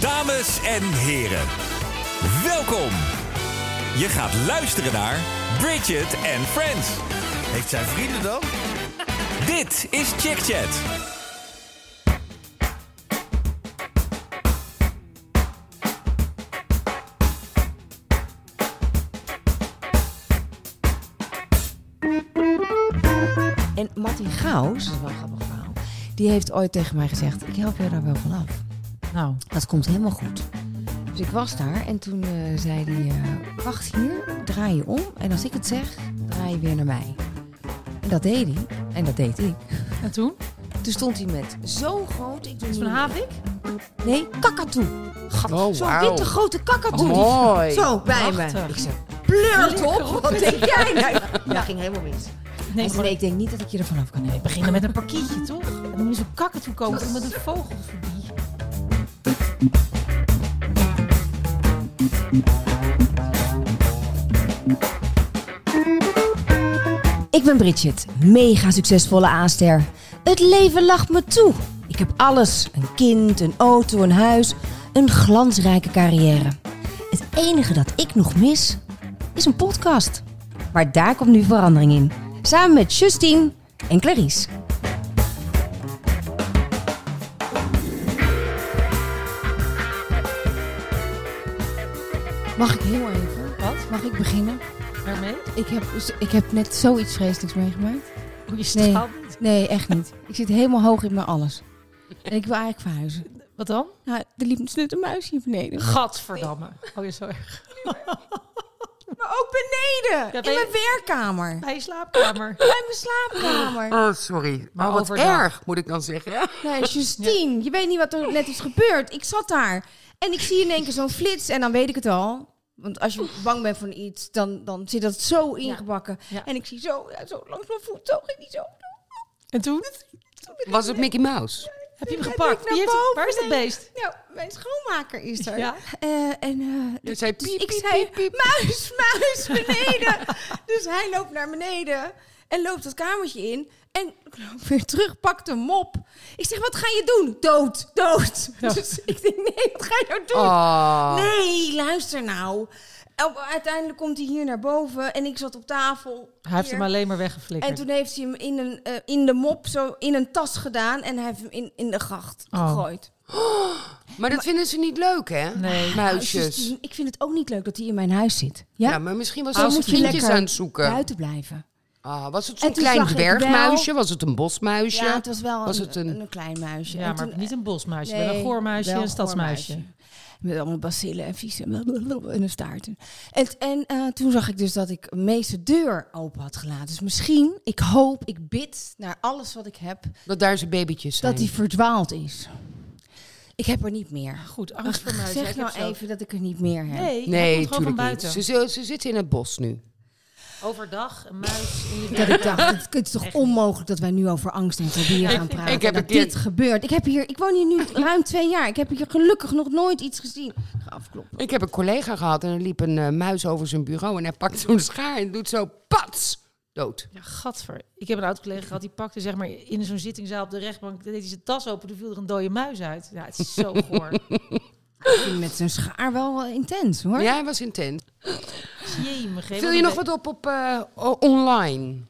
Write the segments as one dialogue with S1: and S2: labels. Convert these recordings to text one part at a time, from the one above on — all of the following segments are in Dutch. S1: Dames en heren, welkom. Je gaat luisteren naar Bridget and Friends.
S2: Heeft zij vrienden dan?
S1: Dit is Chick Chat.
S3: En Martin Gauws, dat is wel een grappig verhaal, die heeft ooit tegen mij gezegd: Ik help jou daar wel vanaf.
S4: Nou,
S3: Dat komt helemaal goed. Dus ik was daar en toen eh, zei hij: eh, Wacht hier, draai je om. En als ik het zeg, draai je weer naar mij. En dat deed hij. En dat deed ik.
S4: en toen?
S3: Toen stond hij met zo'n groot. Ik doe
S4: Is
S3: niet
S4: van
S3: meer-
S4: Havik?
S3: Nee, kakatoe. Gat,
S2: Oh,
S3: zo'n
S2: wauw. Oh,
S3: witte grote kakatoe.
S5: Mooi.
S3: Zo, bij me.
S4: Prachtig.
S3: Ik zei, pleurt op. Wat denk jij? Nou, dat ging helemaal mis.
S4: Nee,
S3: Hij zei,
S4: maar
S3: Nee, ik denk niet dat ik je er vanaf kan helpen.
S4: beginnen met een parkietje, toch? En dan moet je zo'n kakken toe komen met een vogelfobie.
S3: Ik ben Bridget, mega succesvolle aanster. Het leven lacht me toe. Ik heb alles: een kind, een auto, een huis, een glansrijke carrière. Het enige dat ik nog mis is een podcast. Maar daar komt nu verandering in. Samen met Justine en Clarice.
S5: Mag ik heel even? Wat? Mag ik beginnen?
S4: Waarmee?
S5: Ik heb, ik heb net zoiets vreselijks meegemaakt.
S4: Hoe Oh, je
S5: Nee.
S4: straalt.
S5: Nee, echt niet. Ik zit helemaal hoog in mijn alles. En ik wil eigenlijk verhuizen.
S4: Wat dan?
S5: Nou, er liep een sleutelmuis hier beneden.
S4: Gadverdamme. Oh, je zo erg.
S5: Maar ook beneden!
S4: ben je-
S5: werkkamer.
S4: Bij je slaapkamer.
S5: Bij mijn slaapkamer. Oh.
S6: Oh, sorry.
S4: Maar
S6: Maar wat
S4: overdag.
S6: erg, moet ik dan zeggen.
S5: Nou, Justine, je weet niet wat er net is gebeurd. Ik zat daar. En ik zie in één keer zo'n flits en dan weet ik het al. Want als je bang bent van iets, dan, dan zit dat zo ingebakken.
S4: Ja.
S5: En ik zie zo, ja, zo langs mijn voet, zo ging die zo.
S4: En toen?
S6: Was het Mickey Mouse?
S4: Heb je hem
S5: En
S4: gepakt?
S5: ik naar
S4: Wie heeft hem-
S5: boven,
S4: waar is dat
S5: nee.
S4: beest?
S5: Nou, mijn schoonmaker is er.
S4: Ja.
S5: Eh, en, eh,
S6: Je zei Dus piep,
S5: ik
S6: piep,
S5: zei, muis, muis, beneden. dus hij loopt naar beneden en loopt dat kamertje in. En ik loop weer terug, pakt een mop. Ik zeg, wat ga je doen? Dood, dood. Dus ik denk, nee, wat ga je nou doen?
S6: Oh.
S5: Nee, luister nou. Op- Uiteindelijk komt hij hier naar boven en ik zat op tafel.
S4: Hij heeft
S5: hier.
S4: hem alleen maar
S5: En
S4: weggeflikkerd.
S5: toen heeft hij hem in, een, eh, in de mop, zo in een tas gedaan en hij heeft hem in, in de gracht
S4: Oh.
S5: gegooid.
S6: Maar dat vinden ze niet leuk, hè?
S4: Nee.
S6: Muisjes.
S5: Justine, ik vind Nou, het ook niet leuk dat hij in mijn huis zit. Ja?
S6: Ja? maar misschien was
S5: Dan
S6: hij
S5: moet
S6: zijn
S5: je
S6: vriendjes
S5: Oh, lekker
S6: aan het zoeken.
S5: Buiten blijven.
S6: Ah, was het
S5: En
S6: zo'n
S5: toen
S6: klein
S5: zag ik
S6: dwergmuisje? Was het een bosmuisje?
S5: Ja, het was wel
S6: Was
S5: een,
S6: het een-
S5: een klein muisje.
S4: ja,
S5: En
S4: maar
S5: toen-
S4: niet een bosmuisje,
S5: Nee,
S4: wel een goormuisje
S5: wel
S4: en een stadsmuisje.
S5: goormuisje. Met allemaal bacillen en vieze en een staart. En, en eh, toen zag ik dus dat ik meest de deur open had gelaten. Dus misschien, ik hoop, ik bid naar alles wat ik heb,
S6: Dat daar zijn babytjes zijn.
S5: dat die verdwaald is. Ik heb er niet meer.
S4: Goed, angst voor muizen.
S5: Zeg
S4: Ik
S5: nou
S4: heb zo-
S5: even dat ik er niet meer heb.
S4: Nee, hij
S6: Nee,
S4: komt gewoon van
S6: natuurlijk niet.
S4: buiten.
S6: Ze, ze, ze zitten in het bos nu.
S4: Overdag, een muis. in je
S5: Dat ik
S4: werkkamer.
S5: dacht, het is toch onmogelijk dat wij nu over angst en fobieën gaan praten.
S6: ik heb
S5: dat
S6: een keer-
S5: dit gebeurt. Ik, heb hier, ik woon hier nu ruim twee jaar. Ik heb hier gelukkig nog nooit iets gezien. Ik ga afkloppen.
S6: Ik heb een collega gehad en er liep een eh, muis over zijn bureau. En hij pakt zo'n schaar en doet zo pats. Dood.
S4: Ja, gadver. Ik heb een oud-collega gehad, die pakte zeg maar in zo'n zittingzaal op de rechtbank, deed hij zijn tas open, toen viel er een dode muis uit. Ja, het is zo goor.
S5: Ik vind met zijn schaar wel eh, intens hoor.
S6: Ja, hij was intent.
S4: Jemig, hè.
S6: Vul je nog wat op op eh, o- online?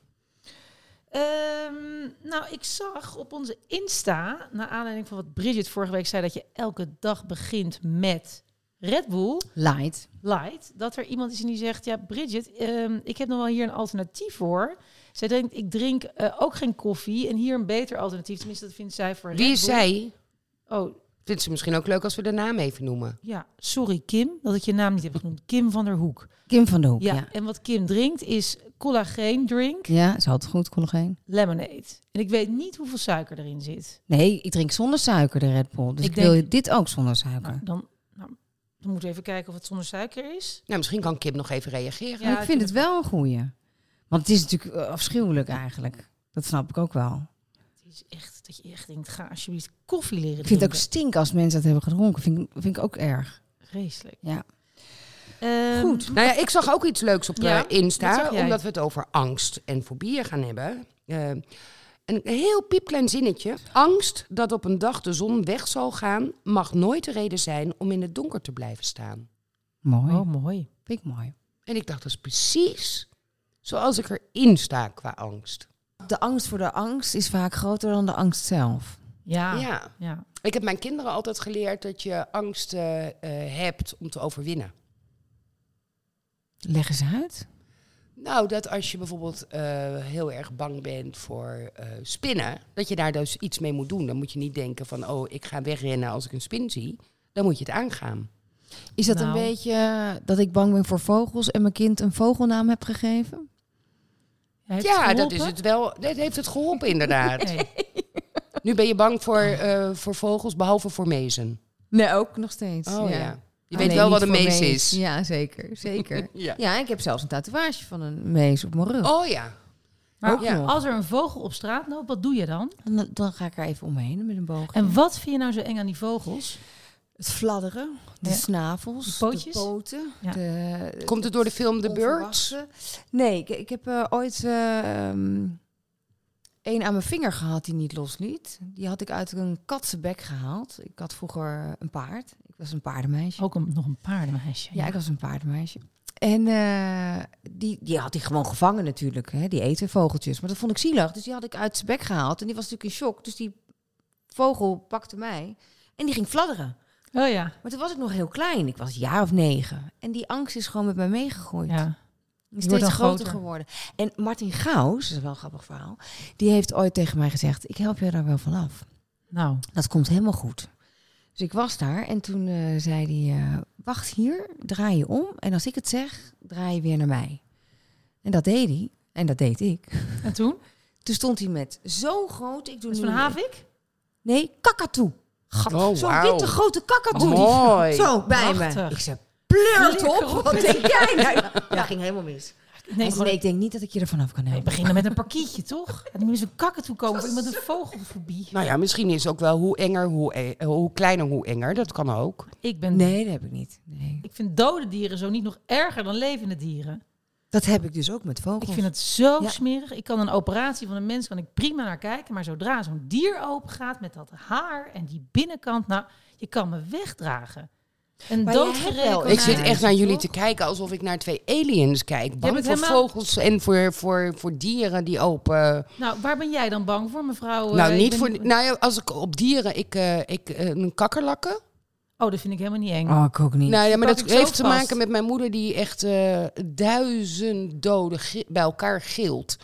S4: Ehm, nou, ik zag op onze Insta, naar aanleiding van wat Bridget vorige week zei, dat je elke dag begint met Red Bull
S5: Light.
S4: Light, dat er iemand is en die zegt, ja Bridget, ehm, ik heb nog wel hier een alternatief voor. Zij denkt, ik drink eh, ook geen koffie en hier een beter alternatief. Tenminste, dat vindt zij voor Red
S6: Wie is
S4: Bull.
S6: zij?
S4: Oh,
S6: Vindt ze misschien ook leuk als we de naam even noemen?
S4: ja, sorry Kim, dat ik je naam niet heb genoemd. Kim van der Hoek.
S5: Kim van de Hoek.
S4: Ja,
S5: Ja, ja.
S4: en wat Kim drinkt is collageen drink,
S5: is altijd goed, collageen.
S4: lemonade. En ik weet niet hoeveel suiker erin zit.
S5: Nee, ik drink zonder suiker de Red Bull. Dus
S4: Ik
S5: ik,
S4: denk-
S5: wil je dit ook zonder
S4: Nou,
S5: suiker.
S4: dan, nou, dan moeten we even kijken of het zonder suiker is.
S6: Nou, misschien kan Kim nog even reageren.
S4: Ja,
S5: Maar ik
S4: ik
S5: vind
S4: vind
S5: het wel een goeie. Want het is natuurlijk eh, afschuwelijk eigenlijk. Dat snap ik ook wel.
S4: Het is echt dat je echt denkt, ga alsjeblieft koffie leren
S5: Ik vind het ook stink als mensen dat hebben gedronken. Vind, ik- vind ik ook erg.
S4: ook vreselijk.
S5: Ja.
S4: Ehm,
S5: Goed.
S6: Nou ja, ik zag ook iets leuks op eh,
S4: Ja, wat
S6: Insta,
S4: zag jij?
S6: omdat we het over angst en fobieën gaan hebben. Eh, Een heel piepklein zinnetje. Angst dat op een dag de zon weg zal gaan, mag nooit de reden zijn om in het donker te blijven staan.
S4: Oh,
S7: Mooi.
S4: mooi.
S7: Vind ik mooi.
S6: En ik dacht, dat is precies zoals ik erin sta qua angst.
S5: De angst voor de angst is vaak groter dan de angst zelf.
S4: Ja. ja.
S6: Ja. Ik heb mijn kinderen altijd geleerd dat je angst eh, eh, hebt om te overwinnen.
S5: Leg eens uit.
S6: Nou, dat als je bijvoorbeeld eh, heel erg bang bent voor eh, spinnen, dat je daar dus iets mee moet doen. Dan moet je niet denken van, oh, ik ga wegrennen als ik een spin zie. Dan moet je het aangaan.
S5: Is dat
S4: Nou.
S5: een beetje eh, dat ik bang ben voor vogels en mijn kind een vogelnaam heb gegeven?
S4: Heeft het
S6: ja,
S4: geholpen?
S6: dat is het wel. Dat heeft het geholpen, inderdaad.
S4: Nee.
S6: Nu ben je bang voor, eh, voor vogels, behalve voor mezen.
S5: Nee, ook nog steeds.
S6: Oh ja. Je
S5: Ah,
S6: weet
S5: nee,
S6: wel wat
S5: niet
S6: een
S5: voor
S6: mees is.
S5: Ja, zeker. zeker.
S6: Ja.
S5: ja, ik heb zelfs een tatoeage van een mees op mijn rug.
S6: Oh ja.
S4: Maar
S6: Ook nog.
S4: als er een vogel op straat loopt, wat doe je dan?
S5: Dan, dan ga ik er even omheen met een boog.
S4: En wat vind je nou zo eng aan die vogels?
S5: het fladderen, de
S4: Ja.
S5: snavels,
S4: De pootjes?
S5: de poten.
S4: Ja.
S5: De,
S6: Komt het door de film The Birds?
S5: onverwachte. Nee, ik, ik heb eh, ooit eh, ehm, één aan mijn vinger gehad die niet losliet. Die had ik uit een katsenbek gehaald. Ik had vroeger een paard. Ik was een paardenmeisje.
S4: Ook een, nog een paardenmeisje.
S5: Ja, ik was een paardenmeisje. En eh, die, die had hij gewoon gevangen natuurlijk. Hè? Die eten vogeltjes. Maar dat vond ik zielig. Dus die had ik uit zijn bek gehaald. En die was natuurlijk in shock. Dus die vogel pakte mij. En die ging fladderen.
S4: Oh ja.
S5: Maar toen was ik nog heel klein. Ik was een jaar of negen. En die angst is gewoon met mij meegegroeid.
S4: ja.
S5: Is
S4: Die wordt
S5: steeds
S4: dan
S5: groter,
S4: groter.
S5: geworden. En Martin Gauws, dat is wel een grappig verhaal, die heeft ooit tegen mij gezegd: Ik help je daar wel vanaf.
S4: Nou,
S5: Dat komt helemaal goed. Dus ik was daar en toen eh, zei hij: eh, Wacht hier, draai je om. En als ik het zeg, draai je weer naar mij. En dat deed hij. En dat deed ik.
S4: en toen?
S5: Toen stond hij met zo'n groot. Ik doe
S4: Dat is
S5: nu-
S4: van Havik?
S5: Nee, kakatoe. Gat,
S6: Oh,
S5: zo'n
S6: wauw.
S5: witte grote kakatoe.
S6: Oh,
S5: Die-
S6: mooi.
S5: Zo bij me.
S4: Prachtig.
S5: Ik zei: Pleurt
S4: Flikker
S5: op.
S4: op.
S5: Wat denk jij nou? Dat ging helemaal mis.
S4: Nee,
S5: Hij zei,
S4: gewoon
S5: nee, ik denk niet dat ik je ervan af kan
S4: Nee,
S5: helpen.
S4: beginnen met een parkietje, toch? En nu is een kakken toe komen. Iemand een vogelfobie.
S6: Nou ja, misschien is ook wel hoe enger, hoe, e- eh, hoe kleiner, hoe enger. Dat kan ook.
S4: Ik ben.
S5: Nee, dat heb ik niet. Nee.
S4: Ik vind dode dieren zo niet nog erger dan levende dieren.
S5: Dat heb ik dus ook met vogels.
S4: Ik vind het zo
S5: Ja.
S4: smerig. Ik kan een operatie van een mens kan ik prima naar kijken, maar zodra zo'n dier open gaat met dat haar en die binnenkant, nou, je kan me wegdragen. Een
S5: Maar jij hebt
S4: doodgereden.
S5: wel-
S6: Ik
S4: konijn.
S6: zit echt naar jullie
S4: toch?
S6: te kijken alsof ik naar twee aliens kijk. Bang
S4: bent
S6: voor
S4: helemaal-
S6: vogels en voor, voor, voor dieren die open...
S4: Nou, waar ben jij dan bang voor, mevrouw? eh,
S6: nou,
S4: ik
S6: niet
S4: ben-
S6: voor... Nou ja, als ik op dieren... Ik, eh, ik, eh, een kakkerlakken.
S4: Oh, dat vind ik helemaal niet eng.
S5: Oh, ik ook niet.
S6: Nou ja, maar
S4: pak
S6: dat
S4: ik zo
S6: heeft te
S4: vast.
S6: maken met mijn moeder die echt eh, duizend doden gi- bij elkaar gilt.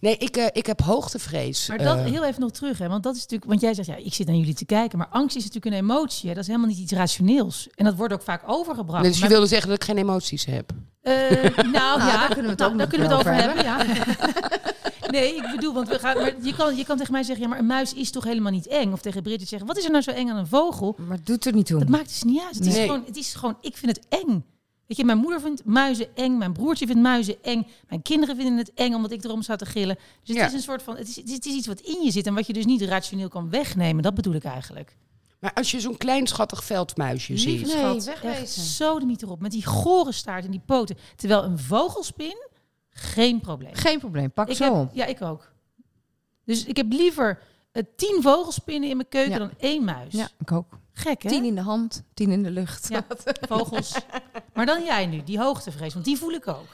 S6: Nee, ik, eh, ik heb hoogtevrees.
S4: Maar dat
S6: eh.
S4: heel even nog terug, hè? Want dat is natuurlijk, want jij zegt, ja, ik zit naar jullie te kijken, maar angst is natuurlijk een emotie. Hè? Dat is helemaal niet iets rationeels. En dat wordt ook vaak overgebracht.
S6: dus je
S4: Maar-
S6: wilde zeggen dat ik geen emoties heb.
S4: Eh, nou, ja,
S5: daar kunnen we het
S4: nou,
S5: ook
S4: daar
S5: nog
S4: kunnen we het over
S5: wel
S4: hebben. ja. nee, ik bedoel, want we gaan, maar je, kan, je kan tegen mij zeggen, ja, maar een muis is toch helemaal niet eng? Of tegen Bridget zeggen, wat is er nou zo eng aan een vogel?
S5: Maar het doet er niet toe.
S4: Dat maakt dus niet uit. Het, is,
S6: Nee.
S4: gewoon, het is gewoon, ik vind het eng. Weet je, mijn moeder vindt muizen eng, mijn broertje vindt muizen eng, mijn kinderen vinden het eng omdat ik erom sta te gillen. Dus het
S6: Ja.
S4: is een soort van, het is, het is- het is iets wat in je zit en wat je dus niet rationeel kan wegnemen. Dat bedoel ik eigenlijk.
S6: Maar als je zo'n klein schattig veldmuisje ziet...
S5: Nee,
S4: Schat,
S5: wegwezen.
S4: echt zo de mythe erop, met die gore staart en die poten. Terwijl een vogelspin, geen probleem.
S5: Geen probleem, pak
S4: Ik
S5: zo
S4: heb,
S5: op.
S4: ja, ik ook. Dus ik heb liever eh, tien vogelspinnen in mijn keuken
S5: Ja.
S4: dan één muis.
S5: Ja, ik ook.
S4: Gek, hè?
S5: Tien in de hand, tien in de lucht.
S4: Ja, vogels. Maar dan jij nu, die hoogtevrees, want die voel ik ook.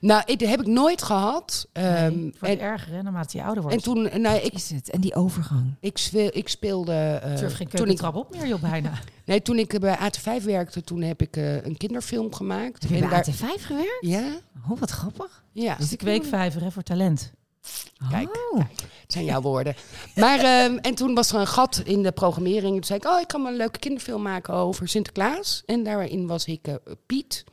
S6: Nou, ik, dat heb ik nooit gehad.
S4: Nee,
S6: Ehm,
S4: het wordt
S6: en,
S4: erger, hè, naarmate je ouder wordt.
S6: en toen... eh, Nou, ik,
S5: Is het. En die overgang.
S6: ik, speel, ik speelde... eh,
S4: Ik durf geen
S6: toen ik,
S4: keukentrap op meer, joh, bijna.
S6: nee, toen ik eh, bij AT5 werkte, toen heb ik eh, een kinderfilm gemaakt.
S5: Heb je
S6: En
S5: bij
S6: daar-
S5: AT5 gewerkt?
S6: Ja,
S5: Oh, wat grappig.
S6: ja.
S4: Dus de kweekvijver hè, voor talent.
S6: Kijk,
S5: Oh.
S6: Het zijn jouw woorden. Maar, ehm, en toen was er een gat in de programmering. Toen zei ik, oh, ik kan wel een leuke kinderfilm maken over Sinterklaas. En daarin was ik eh, Piet.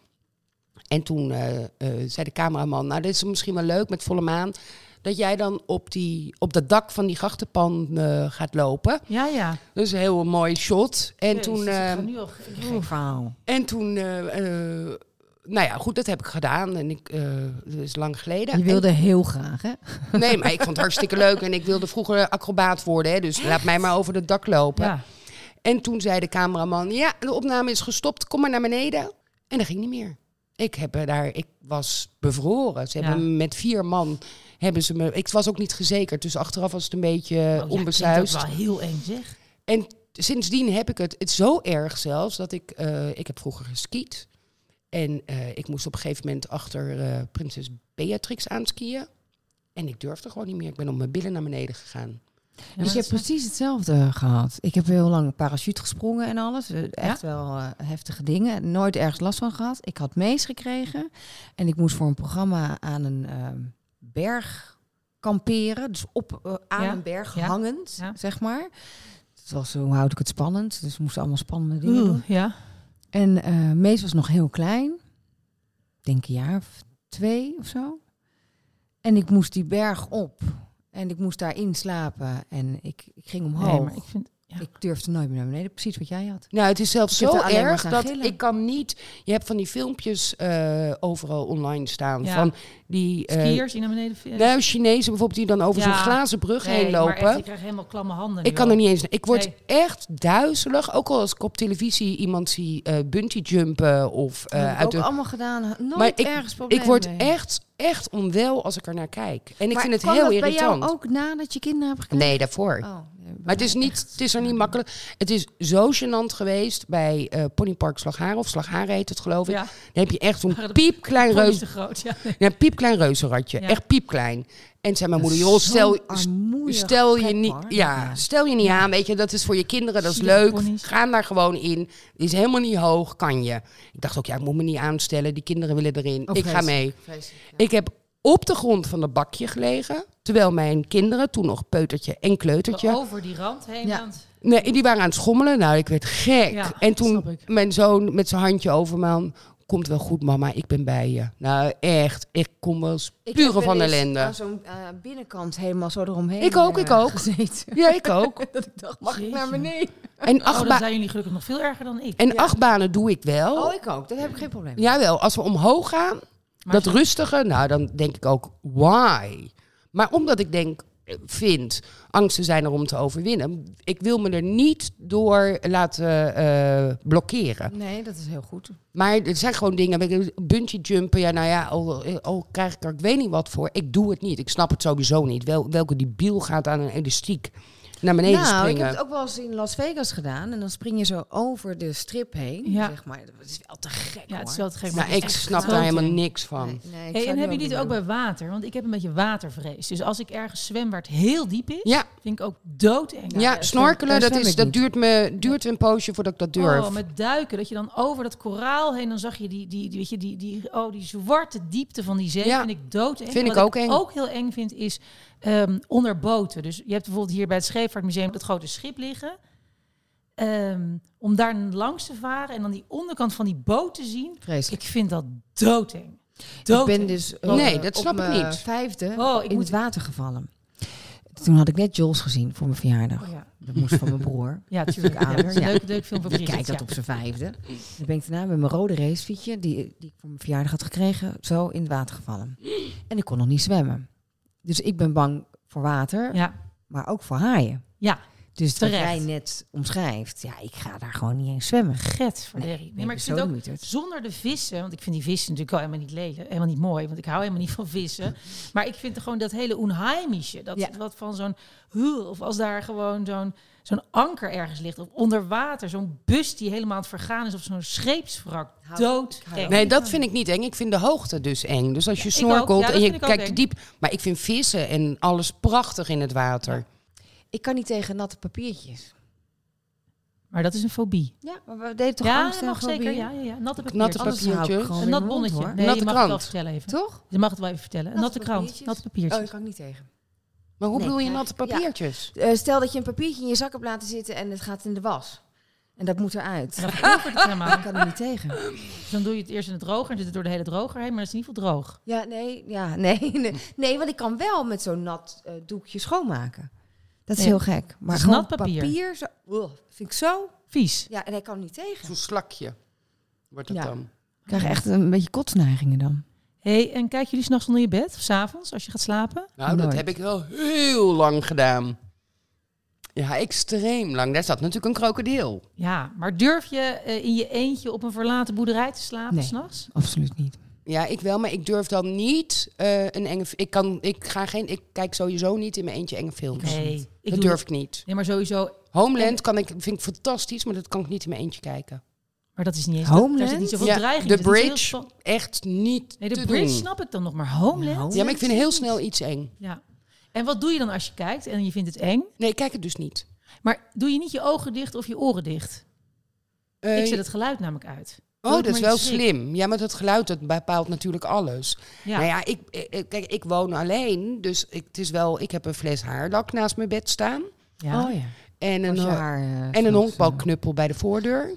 S6: En toen eh, eh, zei de cameraman, nou, dit is misschien wel leuk met volle maan. Dat jij dan op, die, op dat dak van die grachtenpan eh, gaat lopen.
S4: Ja, ja.
S6: Dat is een heel mooi shot. En
S4: Jezus,
S6: toen...
S4: ik ga
S6: ehm,
S4: nu al-
S5: Gek verhaal.
S6: en toen eh, eh, nou ja, goed, dat heb ik gedaan. En ik, eh, dat is lang geleden.
S5: Je
S6: En-
S5: wilde heel graag, hè?
S6: Nee, maar ik vond het hartstikke leuk. En ik wilde vroeger acrobaat worden. Hè, dus laat mij maar over het dak lopen.
S4: ja.
S6: En toen zei de cameraman... Ja, de opname is gestopt. Kom maar naar beneden. En dat ging niet meer. Ik, heb eh, daar, ik was bevroren. Ze
S4: Ja.
S6: hebben me met vier man hebben ze me. Ik was ook niet gezekerd, dus achteraf was het een beetje eh,
S4: Oh, ja,
S6: onbesluist.
S4: klinkt ook wel heel eng zeg.
S6: En sindsdien heb ik het, het zo erg zelfs dat ik, eh, ik heb vroeger geskiet. En eh, ik moest op een gegeven moment achter eh, prinses Beatrix aanskiën. En ik durfde gewoon niet meer. Ik ben op mijn billen naar beneden gegaan.
S4: maar
S5: dus je hebt
S4: dat is-
S5: precies hetzelfde gehad. Ik heb heel lang parachute gesprongen en alles. Eh, Echt wel eh, heftige dingen. Nooit ergens last van gehad. Ik had mees gekregen. En ik moest voor een programma aan een ehm, berg kamperen. Dus op, eh, aan
S4: Ja,
S5: een berg
S4: ja,
S5: hangend,
S4: ja.
S5: zeg maar. Het was, hoe houd ik het spannend? Dus we moesten allemaal spannende dingen doen.
S4: ja.
S5: En eh Mees was nog heel klein. Ik denk een jaar of twee of zo. En ik moest die berg op. En ik moest daarin slapen. En ik, ik ging omhoog.
S4: Nee, maar ik vind... ja.
S5: Ik durfde nooit meer naar beneden. Precies wat jij had.
S6: Nou, het is zelfs
S5: Ik heb
S6: zo
S5: er alleen maar
S6: erg
S5: staan
S6: dat
S5: gillen.
S6: ik kan niet... Je hebt van die filmpjes eh, overal online staan.
S4: Ja.
S6: Van die eh,
S4: Skiers die naar beneden... vi-
S6: nou, Chinezen bijvoorbeeld die dan over
S4: Ja.
S6: zo'n glazen brug
S4: Nee,
S6: heen
S4: maar echt,
S6: lopen.
S4: ik krijg helemaal klamme handen.
S6: Ik
S4: nu
S6: kan
S4: al.
S6: er niet eens. Ik word
S4: Nee.
S6: echt duizelig. Ook al als ik op televisie iemand zie eh bungee jumpen of eh,
S5: dat heb ik
S6: uit
S5: ook
S6: de.
S5: allemaal gedaan. Nooit
S6: Maar ik-
S5: ergens problemen
S6: Ik word
S5: mee.
S6: echt, echt onwel als ik er naar kijk. En ik
S5: Maar
S6: vind het
S5: kwam
S6: heel
S5: dat bij
S6: irritant.
S5: jou ook nadat je kinderen hebt gekregen?
S6: Nee, daarvoor.
S5: Oh, nee, bij
S6: Maar het is,
S5: mij
S6: niet,
S5: echt.
S6: het is er niet makkelijk. Het is zo gênant geweest bij eh Ponypark Slagharen. Of Slagharen heet het, geloof ik.
S4: Ja,
S6: Dan heb je echt zo'n
S4: Maar dat-
S6: piepklein,
S4: gewoon is
S6: reus,
S4: te groot. Ja.
S6: ja, piepklein reuzenradje.
S4: Ja.
S6: Echt piepklein. En zei mijn
S5: Dat
S6: moeder,
S5: is
S6: joh, stel,
S5: zo'n armoedig
S6: stel je
S5: plek,
S6: niet,
S5: hoor.
S6: ja, stel je niet aan, weet je, dat is voor je kinderen, dat is
S4: Zielige
S6: leuk.
S4: ponies.
S6: Ga daar gewoon in. Is helemaal niet hoog, kan je. Ik dacht ook, ja, ik moet me niet aanstellen. Die kinderen willen erin.
S5: Oh,
S6: ik ga
S5: vreselijk.
S6: mee.
S5: Vreselijk, ja.
S6: Ik heb op de grond van dat bakje gelegen, terwijl mijn kinderen toen nog peutertje en
S5: Oh,
S6: kleutertje,
S4: Over die rand heen.
S5: Ja.
S4: Ja.
S6: nee, die waren aan het schommelen. Nou, ik werd gek.
S4: Ja,
S6: en toen
S4: snap ik.
S6: mijn zoon met zijn handje over me aan, komt wel goed, mama, ik ben bij je. Nou, echt, ik kom wel
S5: Ik heb
S6: spuren van
S5: wel eens
S6: ellende.
S5: Aan zo'n eh, binnenkant helemaal zo eromheen.
S6: Ik ook,
S5: eh,
S6: ik ook.
S5: Gezeten.
S6: Ja, ik ook.
S5: dat ik dacht, mag ik
S4: Jeetje.
S5: naar beneden?
S6: En acht,
S4: Oh, dan
S6: ba-
S4: zijn jullie gelukkig nog veel erger dan ik.
S6: en acht banen doe ik wel.
S5: Oh, ik ook. Dat heb ik geen probleem. mee.
S6: Jawel, als we omhoog gaan,
S4: Maar
S6: dat
S4: ze-
S6: rustige, nou dan denk ik ook, why? Maar omdat ik denk, eh, vind, angsten zijn er om te overwinnen. Ik wil me er niet door laten eh, blokkeren.
S5: Nee, dat is heel goed.
S6: Maar er zijn gewoon dingen, weet je, bungee jumpen, ja nou ja, oh, eh, oh, krijg ik er ik weet niet wat voor. Ik doe het niet, ik snap het sowieso niet. Wel, welke debiel gaat aan een elastiek naar beneden
S5: nou, ik
S6: springen?
S5: heb het ook wel eens in Las Vegas gedaan. En dan spring je zo over de strip heen.
S4: Ja.
S5: Zeg maar. Dat is wel te gek,
S4: Ja, het is
S5: hoor.
S4: wel te gek.
S6: Nou,
S4: maar het
S6: ik
S4: is echt
S6: snap
S4: groot,
S6: daar
S4: hè.
S6: helemaal niks van.
S5: Nee, nee, ik
S4: Hey,
S5: zou
S4: en
S5: het
S4: hebben
S5: wel
S4: jullie het ook
S5: niet
S4: bij water? Want ik heb een beetje watervrees. Dus als ik ergens zwem waar het heel diep is,
S6: Ja,
S4: vind ik ook doodeng.
S6: ja,
S5: daar
S6: snorkelen,
S5: zwem
S6: dat,
S5: ik
S6: is, dat
S5: niet.
S6: duurt, me, duurt een poosje voordat ik dat durf.
S4: Oh, met duiken, dat je dan over dat koraal heen, dan zag je die, die, die, weet je, die, die, oh, die zwarte diepte van die zee.
S6: Ja.
S4: Vind ik doodeng.
S6: Vind ik
S4: Wat
S6: ook eng.
S4: ook heel eng vind, is ehm, onder boten. Dus je hebt bijvoorbeeld hier bij het Scheepvaartmuseum dat grote schip liggen. Ehm, om daar langs te varen en dan die onderkant van die boot te zien.
S5: doen. Vreselijk.
S4: Ik vind dat doodeng.
S5: Ik
S4: doodeng.
S5: ben dus eh,
S6: Nee, dat snap
S5: op
S6: ik
S5: mijn
S6: niet.
S5: vijfde
S4: Oh, ik
S5: in
S4: moet-
S5: het water gevallen. Toen had ik net Jules gezien voor mijn verjaardag.
S4: Oh, ja.
S5: Dat moest van mijn broer.
S4: ja, tuurlijk.
S5: Natuurlijk
S4: Ja, dat is
S5: ouder,
S4: een
S5: ja.
S4: leuk, leuk film van
S5: Die
S4: Bridget,
S5: kijkt dat
S4: ja.
S5: op zijn vijfde. Dan ben ik daarna met mijn rode racefietsje, die, eh, die ik voor mijn verjaardag had gekregen, zo in het water gevallen. En ik kon nog niet zwemmen. Dus ik ben bang voor water,
S4: Ja,
S5: maar ook voor haaien.
S4: Ja,
S5: Dus wat
S4: terecht.
S5: jij net omschrijft, ja, ik ga daar gewoon niet eens zwemmen.
S4: get voor Nee, maar ik vind ook
S5: het.
S4: zonder de vissen, want ik vind die vissen natuurlijk wel helemaal niet lelijk, helemaal niet mooi, want ik hou helemaal niet van vissen. Maar ik vind gewoon dat hele onheimische, dat
S5: Ja.
S4: wat van zo'n huw, of als daar gewoon zo'n zo'n anker ergens ligt, of onder water, zo'n bus die helemaal aan het vergaan is, of zo'n scheepswrak,
S5: Hou-
S4: dood.
S5: ik hou er
S6: Nee, dat vind ik niet eng. Ik vind de hoogte dus eng. Dus als je
S4: ik ook.
S6: snorkelt
S4: Oh, Ja, dat
S6: en je
S4: vind ik ook
S6: kijkt
S4: eng.
S6: diep. Maar ik vind vissen en alles prachtig in het water.
S5: Ik kan niet tegen natte papiertjes.
S4: Maar dat is een fobie.
S5: Ja, maar we deden toch
S4: ja,
S5: angst en
S4: mag zeker.
S5: fobieën?
S4: Ja, ja, ja. Natte papier.
S6: Natte
S5: Anders hou ik
S6: papiertjes.
S5: gewoon
S4: Een
S5: weer
S4: nat
S5: mijn mond,
S4: bonnetje.
S5: hoor.
S4: Nee,
S6: Natte
S4: je mag het wel
S6: krant.
S4: vertellen even.
S5: Toch?
S4: Je mag het wel even vertellen. Een
S5: Natte
S4: natte krant,
S5: papiertjes.
S4: natte
S5: Oh,
S4: papiertjes.
S5: dat kan ik niet tegen.
S6: Maar hoe
S5: Nee.
S6: bedoel je natte papiertjes?
S5: Eh, stel dat je een papiertje in je zak hebt laten zitten en het gaat in de was. En dat moet eruit.
S4: Dan verovert het helemaal.
S5: Ik kan er niet tegen.
S4: Dus dan doe je het eerst in de droger en zit het door de hele droger heen, maar het is niet veel droog.
S5: Ja, nee, ja, nee, nee. Nee, want ik kan wel met zo'n nat eh, doekje schoonmaken. Dat is
S4: Ja.
S5: heel gek. Maar
S4: Dus
S5: gewoon
S4: nat papier.
S5: zo, Ugh, vind ik zo.
S4: Vies.
S5: Ja, en ik kan er niet tegen.
S6: Zo'n slakje wordt dat
S5: Ja.
S6: dan.
S5: Ik krijg echt een beetje kotsneigingen dan.
S4: hey, en kijken jullie s'nachts onder je bed of s'avonds als je gaat slapen?
S6: Nou, dat
S5: Nooit.
S6: heb ik wel heel lang gedaan. Ja, extreem lang. Daar zat natuurlijk een krokodil.
S4: Ja, maar durf je eh, in je eentje op een verlaten boerderij te slapen
S5: Nee.
S4: s'nachts?
S5: Absoluut niet.
S6: Ja, ik wel, maar ik durf dan niet eh, een enge... Ik, kan, ik, ga geen, ik kijk sowieso niet in mijn eentje enge films.
S4: Nee, ik
S6: dat
S4: doe
S6: durf ik niet.
S4: Nee, maar sowieso.
S6: Homeland kan ik, vind ik fantastisch, maar dat kan ik niet in mijn eentje kijken.
S4: Maar dat is niet eens. Daar zit
S5: Homeland?
S4: niet zoveel
S6: Ja,
S4: dreiging.
S6: The
S4: er zit niet
S6: Bridge.
S4: heel spa-
S6: Echt niet
S4: Nee, de
S6: te
S4: bridge
S6: doen.
S4: snap ik dan nog, maar Homeland.
S6: Ja, maar ik vind heel snel iets eng.
S4: Ja. En wat doe je dan als je kijkt en je vindt het eng?
S6: Nee, ik kijk het dus niet.
S4: Maar doe je niet je ogen dicht of je oren dicht?
S6: Eh,
S4: Ik zet het geluid namelijk uit.
S6: oh,
S4: Doe ik
S6: dat is
S4: maar
S6: wel
S4: iets schrik.
S6: slim. Ja, maar dat geluid dat bepaalt natuurlijk alles.
S4: Ja.
S6: Nou ja, ik, ik- kijk, ik woon alleen, dus ik, het is wel, ik heb een fles haarlak naast mijn bed staan.
S4: Ja.
S5: Oh ja.
S6: En een,
S5: Als je
S6: ho-
S5: haar, eh,
S6: en een
S5: vloekt,
S6: honkbalknuppel bij de voordeur.
S5: eh,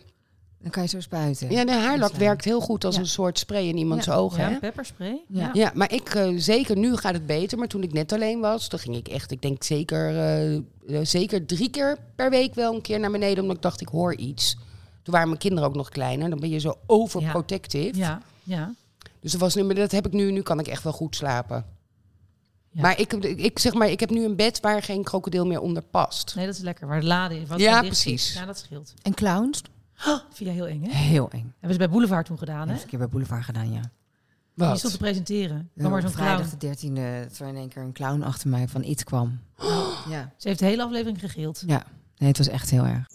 S5: Dan kan je zo spuiten.
S6: Ja, de haarlak
S5: waar.
S6: werkt heel goed als
S5: Ja.
S6: een soort spray in iemands
S5: Ja.
S6: ogen.
S4: Ja,
S6: hè?
S4: pepperspray.
S5: Ja.
S4: Ja.
S6: Ja, maar ik, eh, zeker nu gaat het beter. Maar toen ik net alleen was, toen ging ik echt, ik denk zeker, eh, eh, zeker drie keer per week wel een keer naar beneden. Omdat ik dacht, ik hoor iets. Toen waren mijn kinderen ook nog kleiner. Dan ben je zo overprotective.
S4: Ja. ja.
S6: Dus dat, was nu, maar dat heb ik nu, nu kan ik echt wel goed slapen.
S4: Ja.
S6: Maar, ik, ik, zeg maar ik heb nu een bed waar geen krokodil meer onder past.
S4: Nee, dat is lekker. Waar het laden in. Wat
S6: Ja,
S4: er dicht zit.
S6: precies.
S4: Ja, dat scheelt.
S5: En clowns?
S4: Vind jij heel eng, hè?
S5: Heel eng.
S4: Hebben ze bij Boulevard toen gedaan,
S5: Dat
S4: hè?
S5: heb ik een keer bij Boulevard gedaan, ja.
S4: Die stond te presenteren. Kwam maar
S5: op
S4: zo'n
S5: vrijdag de
S4: clown.
S5: 13e dat er in één keer een clown achter mij van iets kwam. Ja.
S4: Ze heeft de hele aflevering gegild.
S5: Ja. Nee, het was echt heel erg.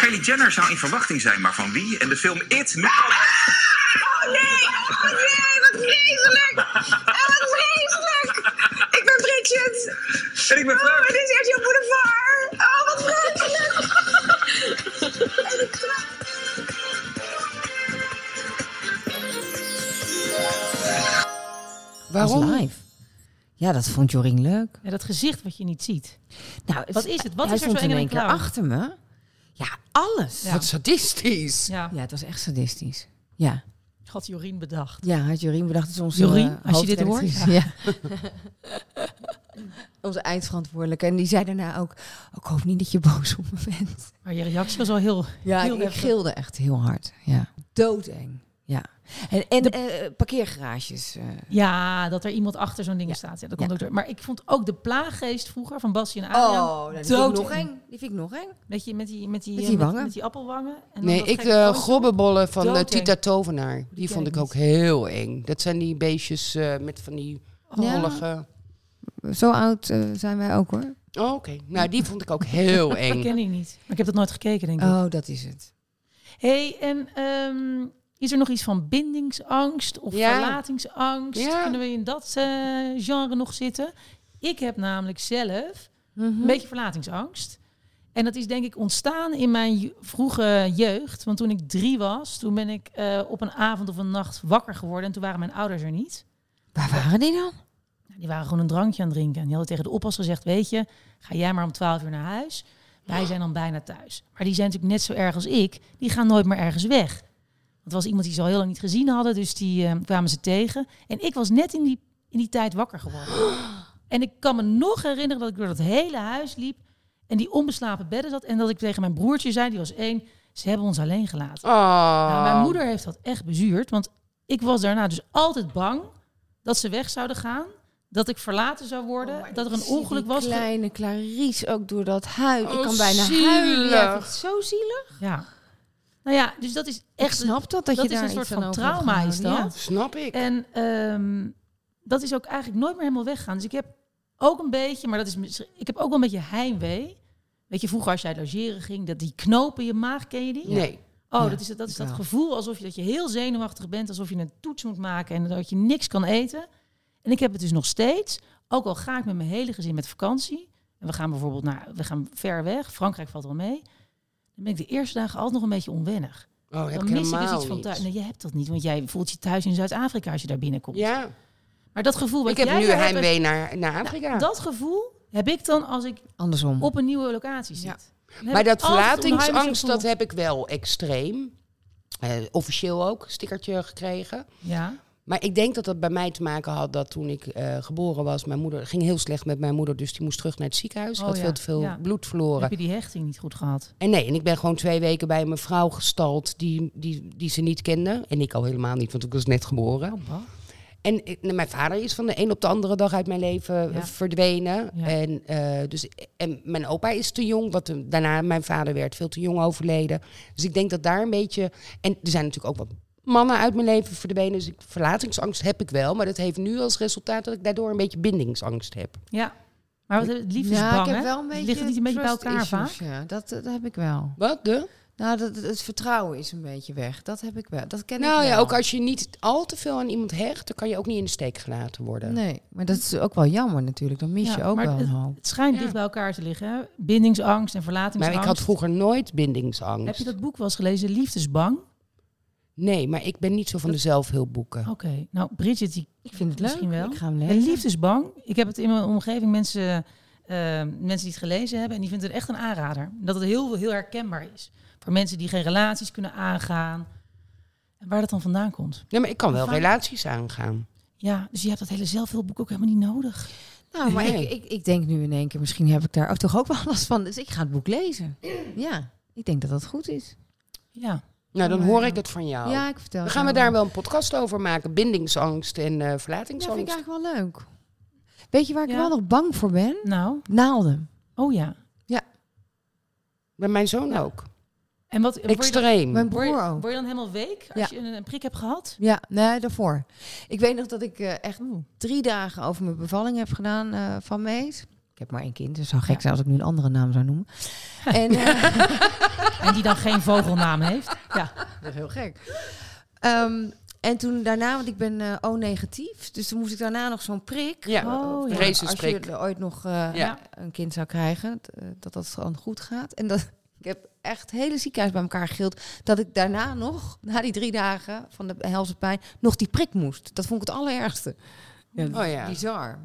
S8: Kylie Jenner zou in verwachting zijn, maar van wie? En de film It nu al uit.
S9: Oh nee, oh nee, wat vreselijk. En wat vreselijk. Ik ben Bridget.
S8: En ik ben
S9: Oh,
S8: Frank.
S9: dit is echt jouw boulevard. Oh, wat vreselijk. En ik ga-
S5: Het was
S6: Waarom?
S5: live. Ja, dat vond Jorien leuk.
S4: Ja, dat gezicht wat je niet ziet.
S5: Nou, het-
S4: Wat is het? Wat
S5: hij
S4: is er zo
S5: stond
S4: eng
S5: in
S4: aan
S5: één
S4: een
S5: keer
S4: clown?
S5: achter me. Ja, alles.
S4: Ja.
S6: Wat sadistisch.
S4: Ja.
S5: Ja, het was echt sadistisch. Ja,
S4: Had Jorien bedacht.
S5: ja had Jorien bedacht, het is onze
S4: Jorien,
S5: eh,
S4: als je dit
S5: hoofdredactrice.
S4: hoort,
S5: Ja. onze eindverantwoordelijke. En die zei daarna ook, "Oh, ik hoop niet dat je boos op me bent.
S4: Maar je reactie was al heel...
S5: Ja,
S4: heel
S5: ik, ik
S4: heftig.
S5: gilde echt heel hard. Ja. Doodeng. Ja. En, en eh, parkeergarages. eh,
S4: Ja, dat er iemand achter zo'n ding staat. Ja, dat komt
S5: Ja.
S4: ook door. Maar ik vond ook de plaaggeest vroeger van Bassie en
S5: Oh,
S4: Adriaan.
S5: nou,
S4: dood
S5: Die vind ik nog eng.
S4: Met, je, met die, met die,
S5: Met
S4: eh,
S5: die
S4: met,
S5: wangen.
S4: met die appelwangen. En dan
S6: Nee,
S4: dat
S6: ik
S4: gekke
S6: eh
S4: pootje.
S6: grobbebollen van eh,
S4: Doodeng.
S6: Tita Tovenaar. Die
S4: ken
S6: vond
S4: ik
S6: ik ook heel eng. Dat zijn die beestjes eh, met van die
S5: Ja.
S6: rollige...
S5: Zo oud eh, zijn wij ook hoor.
S6: Oh, oké. Nou, die vond ik ook heel
S4: Dat
S6: eng.
S4: ken ik niet. Maar ik heb dat nooit gekeken, denk ik.
S5: Oh, dat is het.
S4: hey, en ehm, is er nog iets van bindingsangst of
S6: Ja.
S4: verlatingsangst?
S6: Ja.
S4: Kunnen we in dat eh, genre nog zitten? Ik heb namelijk zelf
S6: Mhm.
S4: een beetje verlatingsangst. En dat is denk ik ontstaan in mijn ju- vroege jeugd. Want toen ik drie was, toen ben ik eh, op een avond of een nacht wakker geworden. En toen waren mijn ouders er niet.
S5: Waar waren die dan?
S4: Nou, Die waren gewoon een drankje aan het drinken. En die hadden tegen de oppas gezegd, weet je, ga jij maar om 12 uur naar huis. Wij zijn dan bijna thuis. Maar die zijn natuurlijk net zo erg als ik. Die gaan nooit meer ergens weg. Want er was iemand die ze al heel lang niet gezien hadden. Dus die eh, kwamen ze tegen. En ik was net in die, in die tijd wakker geworden. En ik kan me nog herinneren dat ik door dat hele huis liep. En die onbeslapen bedden zat. En dat ik tegen mijn broertje zei, die was één. Ze hebben ons alleen gelaten.
S6: Oh.
S4: Nou, mijn moeder heeft dat echt bezuurd. Want ik was daarna dus altijd bang dat ze weg zouden gaan. Dat ik verlaten zou
S6: Oh
S5: Oh
S4: worden. dat er een ongeluk was.
S5: Kleine Clarice ook door dat huis. ik
S6: Oh,
S5: kan bijna huilen. Ja, ik vind het zo zielig.
S4: Ja. Nou ja, dus dat is
S5: Ik
S4: echt.
S5: snap dat, dat,
S4: dat
S5: je
S4: is
S5: daar
S4: een soort
S5: iets aan
S4: van
S5: over hebt
S4: trauma is
S5: gehouden,
S4: dat.
S6: Snap ik.
S4: En ehm, dat is ook eigenlijk nooit meer helemaal weggaan. Dus ik heb ook een beetje, maar dat is misschien- ik heb ook wel een beetje heimwee. Weet je, vroeger als jij logeren ging, dat die knopen in je maag, ken je die?
S6: Nee.
S4: Oh,
S5: Ja,
S4: dat is, dat, is dat
S5: wel.
S4: gevoel alsof je, dat je heel zenuwachtig bent, alsof je een toets moet maken en dat je niks kan eten. En ik heb het dus nog steeds, ook al ga ik met mijn hele gezin met vakantie. En we gaan bijvoorbeeld naar, we gaan ver weg, Frankrijk valt wel mee. Dan ben ik de eerste dagen altijd nog een beetje onwennig.
S6: Oh, heb
S4: Dan mis
S6: ik
S4: ik dus
S6: helemaal
S4: iets van
S6: niet.
S4: thuis. Nee, je hebt dat niet, want jij voelt je thuis in Zuid-Afrika als je daar binnenkomt.
S6: Ja.
S4: Maar dat gevoel wat
S6: Ik heb
S4: jij
S6: nu
S4: daar hebt, Nou,
S6: heimwee naar, naar Afrika.
S4: dat gevoel heb ik dan als ik
S5: ja. Andersom.
S4: op een nieuwe locatie zit. Dan heb
S6: maar
S4: ik
S6: dat
S4: altijd een
S6: verlatingsangst,
S4: onheimisch
S6: dat
S4: gevoel.
S6: heb ik wel extreem. Eh, officieel ook, stickertje gekregen.
S4: Ja,
S6: Maar ik denk dat dat bij mij te maken had dat toen ik eh, geboren was, mijn moeder het ging heel slecht met mijn moeder, dus die moest terug naar het ziekenhuis.
S4: Oh,
S6: had
S4: ja,
S6: veel te veel
S4: ja.
S6: bloed verloren.
S4: heb je die hechting niet goed gehad?
S6: En nee, en ik ben gewoon twee weken bij een vrouw gestald die, die, die ze niet kende. En ik al helemaal niet, want ik was net geboren. En ik- nou, mijn vader is van de een op de andere dag uit mijn leven eh,
S4: Ja.
S6: verdwenen.
S4: Ja.
S6: En, eh, dus, en mijn opa is te jong, wat hem- daarna mijn vader werd veel te jong overleden. Dus ik denk dat daar een beetje... En er zijn natuurlijk ook wat mannen uit mijn leven verdwenen. Dus ik, verlatingsangst heb ik wel. Maar dat heeft nu als resultaat dat ik daardoor een beetje bindingsangst heb.
S4: Ja. Maar wat, het liefst is
S5: ja,
S4: bang,
S5: ik heb
S4: hè?
S5: wel een beetje.
S4: Ligt het niet een beetje bij
S5: trust
S4: elkaar vaak?
S5: issues, Ja, dat, eh, dat heb ik wel.
S6: Wat? De?
S5: Nou, dat, het vertrouwen is een beetje weg. Dat heb ik wel. Dat ken ik
S6: Nou ja,
S5: wel.
S6: ook als je niet al te veel aan iemand hecht... dan kan je ook niet in de steek gelaten worden.
S5: Nee, maar dat is ook wel jammer natuurlijk. Dan mis
S4: Ja,
S5: je ook
S4: maar
S5: wel een
S4: het,
S5: hoop.
S4: het schijnt dicht bij elkaar te liggen. Hè? Bindingsangst en
S6: Maar
S4: verlatingsangst.
S6: ik had vroeger nooit bindingsangst.
S4: Heb je dat boek wel eens gelezen, Liefdesbang?
S6: Nee, maar ik ben niet zo van de zelfhulpboeken.
S5: Oh.
S4: Oké, nou Bridget, die ik
S5: vind het
S4: misschien
S5: leuk.
S4: wel.
S5: Ik ga hem
S4: En
S5: lezen.
S4: Liefdesbang, ik heb het in mijn omgeving mensen, eh, mensen die het gelezen hebben en die vinden het echt een aanrader. Dat het heel, heel herkenbaar is voor mensen die geen relaties kunnen aangaan. En waar dat dan vandaan komt.
S6: Nee, maar ik kan wel
S4: Vaak-
S6: relaties aangaan.
S4: Ja, dus je hebt dat hele zelfhulpboek ook helemaal niet nodig.
S5: Nou, maar
S6: Nee.
S5: ik, ik, ik denk nu in één keer, misschien heb ik daar ook toch ook wel last van. Dus ik ga het boek lezen. Ja, ik denk dat dat goed is.
S4: Ja,
S6: Nou, dan hoor ik het van jou.
S5: Ja, ik vertel.
S6: dan
S5: het
S6: gaan we
S5: jou
S6: daar wel een podcast over maken. Bindingsangst en eh
S5: wel. Ja, vind ik
S6: verlatingsangst.
S5: eigenlijk wel leuk. Weet je waar ik
S4: Ja.
S5: wel nog bang voor ben?
S4: nou,
S5: Naalden.
S4: oh ja.
S6: Bij mijn zoon ook.
S4: En wat, word je dan,
S6: Extreem.
S5: Mijn
S4: word je,
S5: broer ook.
S4: word je dan helemaal week als je een, een prik hebt gehad?
S5: Ja, nee, daarvoor. Ik weet nog dat ik eh, echt
S4: Oeh.
S5: drie dagen over mijn bevalling heb gedaan eh, van Mees. Ik heb maar één kind, dus het zou gek zijn als ik nu een andere naam zou noemen. en, eh,
S4: En die dan geen vogelnaam heeft. Ja.
S5: Dat is heel gek. Ehm, en toen daarna, want ik ben eh, O-negatief, dus toen moest ik daarna nog zo'n prik.
S6: Ja,
S5: Eh,
S4: Oh,
S5: voor-
S4: ja.
S5: Als
S6: racesprik.
S5: je er ooit nog eh,
S6: Ja.
S5: een kind zou krijgen, t- eh, dat dat dan goed gaat. En dat, ik heb echt het hele ziekenhuis bij elkaar gegild dat ik daarna nog, na die drie dagen van de helse pijn, nog die prik moest. Dat vond ik het allerergste.
S6: Oh ja.
S5: Bizar.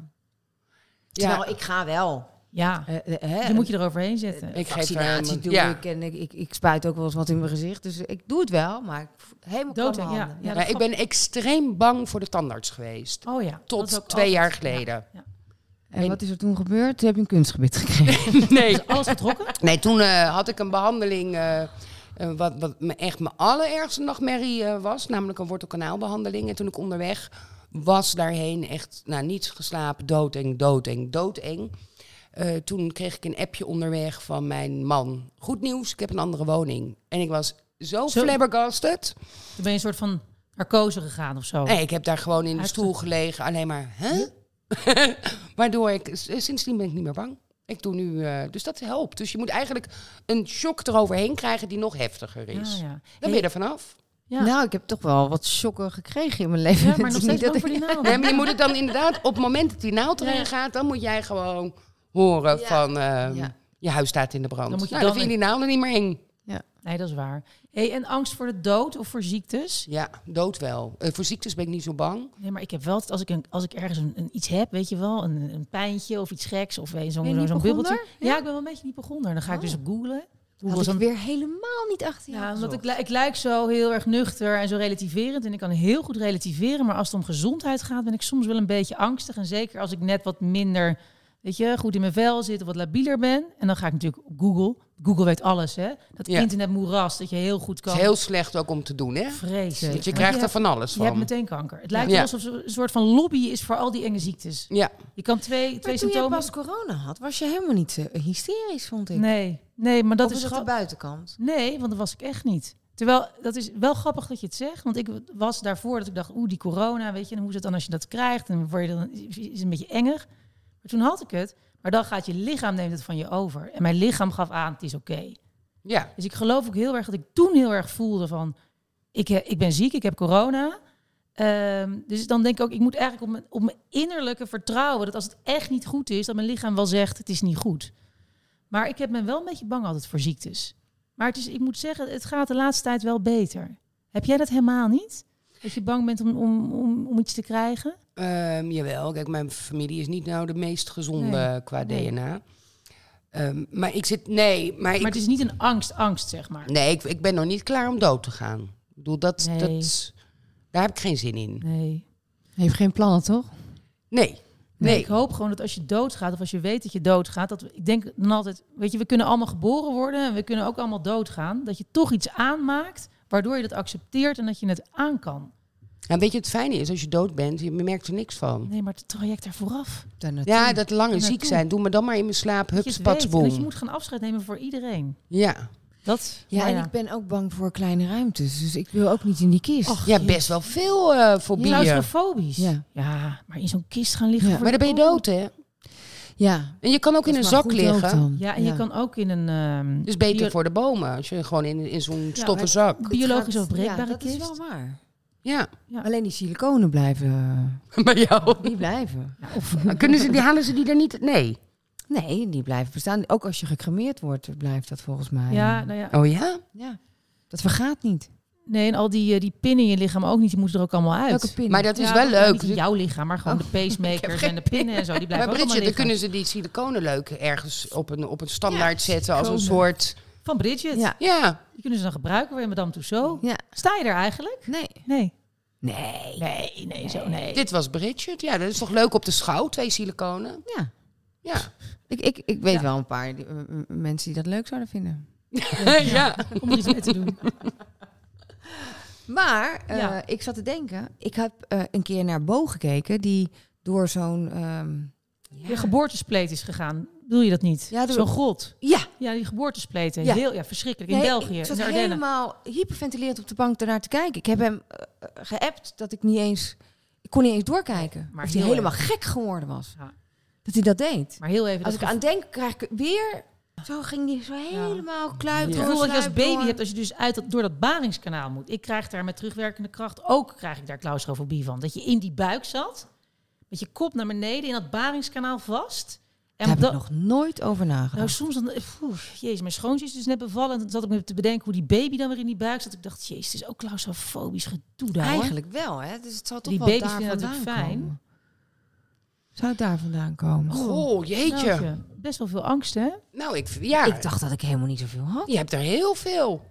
S6: Ja.
S5: Terwijl ik ga wel.
S4: Ja,
S5: Eh, eh, hè,
S4: je moet je eroverheen zetten.
S6: Ik geef daar
S5: vaccinatie
S6: helemaal-
S5: doe
S6: ja.
S5: ik en ik, ik, ik spuit ook wel eens wat in mijn gezicht. Dus ik doe het wel, maar ik voel helemaal
S4: Dood,
S5: klamme
S4: ja.
S5: handen.
S4: Ja,
S5: Ja,
S6: Maar ik ben extreem bang voor de tandarts geweest.
S4: Oh ja. dat is ook
S6: Tot twee
S4: altijd-
S6: jaar geleden.
S5: En wat is er toen gebeurd? Toen heb je een kunstgebit gekregen.
S6: Nee.
S4: Alles getrokken?
S6: Nee, toen eh, had ik een behandeling. eh, eh, wat, wat me echt mijn allerergste nachtmerrie eh, was. Namelijk een wortelkanaalbehandeling. En toen ik onderweg was daarheen echt nou, niets geslapen. Doodeng, doodeng, doodeng. Eh toen kreeg ik een appje onderweg van mijn man. Goed nieuws, ik heb een andere woning. En ik was zo,
S4: Zo.
S6: flabbergasted.
S4: Toen ben je een soort van narcose gegaan of zo.
S6: Nee, ik heb daar gewoon in de
S4: Uitge-
S6: stoel gelegen. Alleen maar, hè? Waardoor ik, s- sindsdien ben ik niet meer bang. Ik doe nu, eh, dus dat helpt. Dus je moet eigenlijk een shock eroverheen krijgen die nog heftiger
S4: Ah, Ja,
S6: is.
S4: ja.
S6: Dan ben je er vanaf.
S4: Ja.
S5: Nou, ik heb toch wel wat shocken gekregen in mijn leven.
S4: Ja,
S5: Het
S4: maar
S5: is
S4: nog
S5: niet
S4: steeds
S5: dat
S4: bang
S5: ik-
S4: voor die naam.
S6: Nee, maar je moet het dan inderdaad, op het moment dat die naald erin
S4: Oh. Ja.
S6: gaat, dan moet jij gewoon horen
S5: Ja.
S6: van, ehm,
S5: Ja.
S6: je huis staat in de brand.
S4: Dan moet je
S6: nou, dan
S4: dan
S6: vind je die naalden niet meer eng.
S4: Nee, dat is waar. Hey, en angst voor de dood of voor ziektes?
S6: Ja, dood wel. Eh, voor ziektes ben ik niet zo bang.
S4: Nee, maar ik heb wel, altijd, als ik, een, als ik ergens een, een iets heb, weet je wel, een, een pijntje of iets geks of weet je,
S5: Ben
S4: zo'n
S5: je
S4: zo'n
S5: hypochonder?
S4: bubbeltje. Ja? ik ben wel een beetje niet begonnen. Dan ga ik dus op googlen.
S5: Oh. Had ik weer helemaal niet achter je
S4: Ja, omdat ik,
S5: gezocht.
S4: li- ik lijk zo heel erg nuchter en zo relativerend. En ik kan heel goed relativeren. Maar als het om gezondheid gaat, ben ik soms wel een beetje angstig. En zeker als ik net wat minder, weet je, goed in mijn vel zit of wat labieler ben. En dan ga ik natuurlijk op Google. Google weet alles, hè. Dat
S6: Ja.
S4: internetmoeras, dat je heel goed
S6: Het
S4: kan
S6: is heel slecht ook om te doen, hè?
S4: vrezen.
S6: Want je krijgt er van alles
S4: Je hebt
S6: van.
S4: meteen kanker. Het lijkt
S6: Ja.
S4: wel alsof er een soort van lobby is voor al die enge ziektes.
S6: Ja,
S4: Je kan twee, twee
S5: Maar toen je
S4: symptomen...
S5: pas corona had, was je helemaal niet eh, hysterisch, vond ik.
S4: Nee, nee, maar dat
S5: dat is
S4: is...
S5: dat
S4: gewoon.
S5: de buitenkant.
S4: Nee, want dat was ik echt niet. Terwijl, dat is wel grappig dat je het zegt. Want ik was daarvoor dat ik dacht, oeh, die corona, weet je. En hoe is het dan als je dat krijgt? En word je dan, is het een beetje enger. Maar toen had ik het. Maar dan gaat je lichaam, neemt het van je over. En mijn lichaam gaf aan, het is oké.
S6: ja.
S4: Dus ik geloof ook heel erg dat ik toen heel erg voelde van... Ik, eh, ik ben ziek, ik heb corona. Ehm, dus dan denk ik ook, ik moet eigenlijk op mijn, op mijn innerlijke vertrouwen... dat als het echt niet goed is, dat mijn lichaam wel zegt, het is niet goed. Maar ik heb me wel een beetje bang altijd voor ziektes. Maar het is, ik moet zeggen, het gaat de laatste tijd wel beter. Heb jij dat helemaal niet? Dat je bang bent om, om, om, om iets te krijgen?
S6: Ehm, jawel, kijk, mijn familie is niet nou de meest gezonde
S4: Nee,
S6: qua
S4: nee.
S6: DNA. Ehm, maar ik zit, nee, maar,
S4: Maar
S6: ik,
S4: het is niet een angst, angst, zeg maar.
S6: nee, ik, ik ben nog niet klaar om dood te gaan. Ik bedoel, dat,
S4: Nee.
S6: dat, daar heb ik geen zin in.
S4: Nee.
S5: Je hebt geen plannen, toch?
S6: Nee,
S4: Nee.
S6: nee.
S4: ik hoop gewoon dat als je doodgaat of als je weet dat je doodgaat, dat we- ik denk dan altijd, weet je, we kunnen allemaal geboren worden en we kunnen ook allemaal doodgaan, dat je toch iets aanmaakt waardoor je dat accepteert en dat je het aan kan.
S6: En Nou, weet je, het fijne is, als je dood bent, je merkt er niks van.
S4: Nee, maar het traject daar vooraf.
S6: Ja, dat lange ziek
S4: naartoe.
S6: zijn. Doe me dan maar in mijn
S4: Dat
S6: slaap.
S4: je
S6: Hups,
S4: het weet
S6: pats,
S4: en
S6: boem.
S4: dat je moet gaan afscheid nemen voor iedereen.
S6: Ja.
S4: Dat,
S5: Ja,
S4: nou
S5: en ik ben ook bang voor kleine ruimtes. Dus ik wil ook niet in die kist.
S6: ja, best wel veel eh fobieën.
S4: Claustrofobisch.
S5: Ja.
S4: Ja. maar in zo'n kist gaan liggen.
S5: Ja.
S4: voor
S6: maar dan ben je
S4: de
S6: dood, hè?
S5: Ja.
S6: En je kan ook in een zak liggen.
S4: kool. Ja, en je kan ook in een ehm,
S6: Dus beter
S4: bio-
S6: voor de bomen. Als je gewoon in, in zo'n stoffen
S5: maar-
S6: zak.
S4: biologisch afbreekbare
S5: ja, dat
S4: kist.
S5: is wel waar.
S6: Ja.
S5: Alleen die siliconen blijven...
S6: Bij jou.
S5: Die blijven.
S6: Maar Kunnen ze, die, halen ze die er niet? Nee.
S5: Nee, die blijven bestaan. Ook als je gecremeerd wordt, blijft dat volgens mij.
S4: Ja, nou ja.
S6: Oh ja?
S5: ja. Dat vergaat niet.
S4: Nee, en al die, eh, die pinnen in je lichaam ook niet. Die moeten er ook allemaal uit.
S5: Welke pin?
S6: Maar dat is
S4: Ja,
S6: wel
S4: nou,
S6: leuk.
S4: Niet in jouw lichaam, maar gewoon de pacemakers en de pinnen en zo. Die
S6: maar
S4: blijven ook allemaal
S6: Bridget, dan
S4: liggen.
S6: kunnen ze die siliconen leuk ergens op een, op een standaard zetten. Als een soort...
S4: Van Bridget.
S5: Ja.
S6: Ja.
S4: Die kunnen ze dan gebruiken weer in Madame Tussauds.
S5: Ja.
S4: Sta je er eigenlijk?
S5: Nee.
S4: Nee.
S5: Nee.
S4: Nee, nee, zo nee.
S6: Dit was Bridget. Ja, dat is toch leuk op de schouw, twee siliconen?
S5: Ja.
S6: Ja.
S5: Ik, ik, ik weet wel een paar die- m- m- mensen die dat leuk zouden vinden.
S6: ja.
S4: Om er iets mee te doen.
S5: Maar eh,
S4: Ja.
S5: ik zat te denken, ik heb eh, een keer naar Bo gekeken die door zo'n... ehm,
S4: Je geboortespleet is gegaan. Wil je dat niet?
S5: Ja, doe-
S4: Zo'n grot.
S5: ja,
S4: Ja, die geboortespleten.
S5: Ja.
S4: Heel, ja, verschrikkelijk. In
S5: Nee,
S4: België,
S5: Ik
S4: in
S5: zat
S4: de Ardennen.
S5: helemaal hyperventilerend op de bank daarnaar te kijken. Ik heb hem eh, eh, geappt dat ik niet eens... Ik kon niet eens doorkijken.
S4: maar
S5: of hij
S4: heel
S5: helemaal gek geworden was.
S4: Ja.
S5: Dat hij dat deed.
S4: Maar heel even.
S5: Als
S4: dat
S5: ik aan denk, krijg ik weer... Zo ging die zo helemaal kluit.
S4: Het gevoel dat je als baby hebt, als je dus uit dat, door dat baringskanaal moet. Ik krijg daar met terugwerkende kracht ook krijg ik daar claustrofobie van. Dat je in die buik zat, met je kop naar beneden in dat baringskanaal vast.
S5: Daar
S4: En
S5: heb
S4: op
S5: ik
S4: dat-
S5: nog nooit over
S4: nou,
S5: nagedacht.
S4: soms dan, poeh, jezus, mijn zoontje is dus net bevallen. En dan zat ik me te bedenken hoe die baby dan weer in die buik zat. Ik dacht, jezus, het is ook claustrofobisch gedoe daar. hoor.
S5: Eigenlijk wel, hè? Dus het zal toch
S4: Die
S5: wel
S4: baby's
S5: daar
S4: vinden dat
S5: vandaan
S4: natuurlijk fijn.
S5: komen. Zou het daar vandaan komen?
S6: Goh,
S4: Nou,
S6: jeetje.
S4: tje, Best wel veel angst, hè?
S6: Nou, ik, ja.
S5: Ik dacht dat ik helemaal niet zoveel had.
S6: Je hebt er heel veel.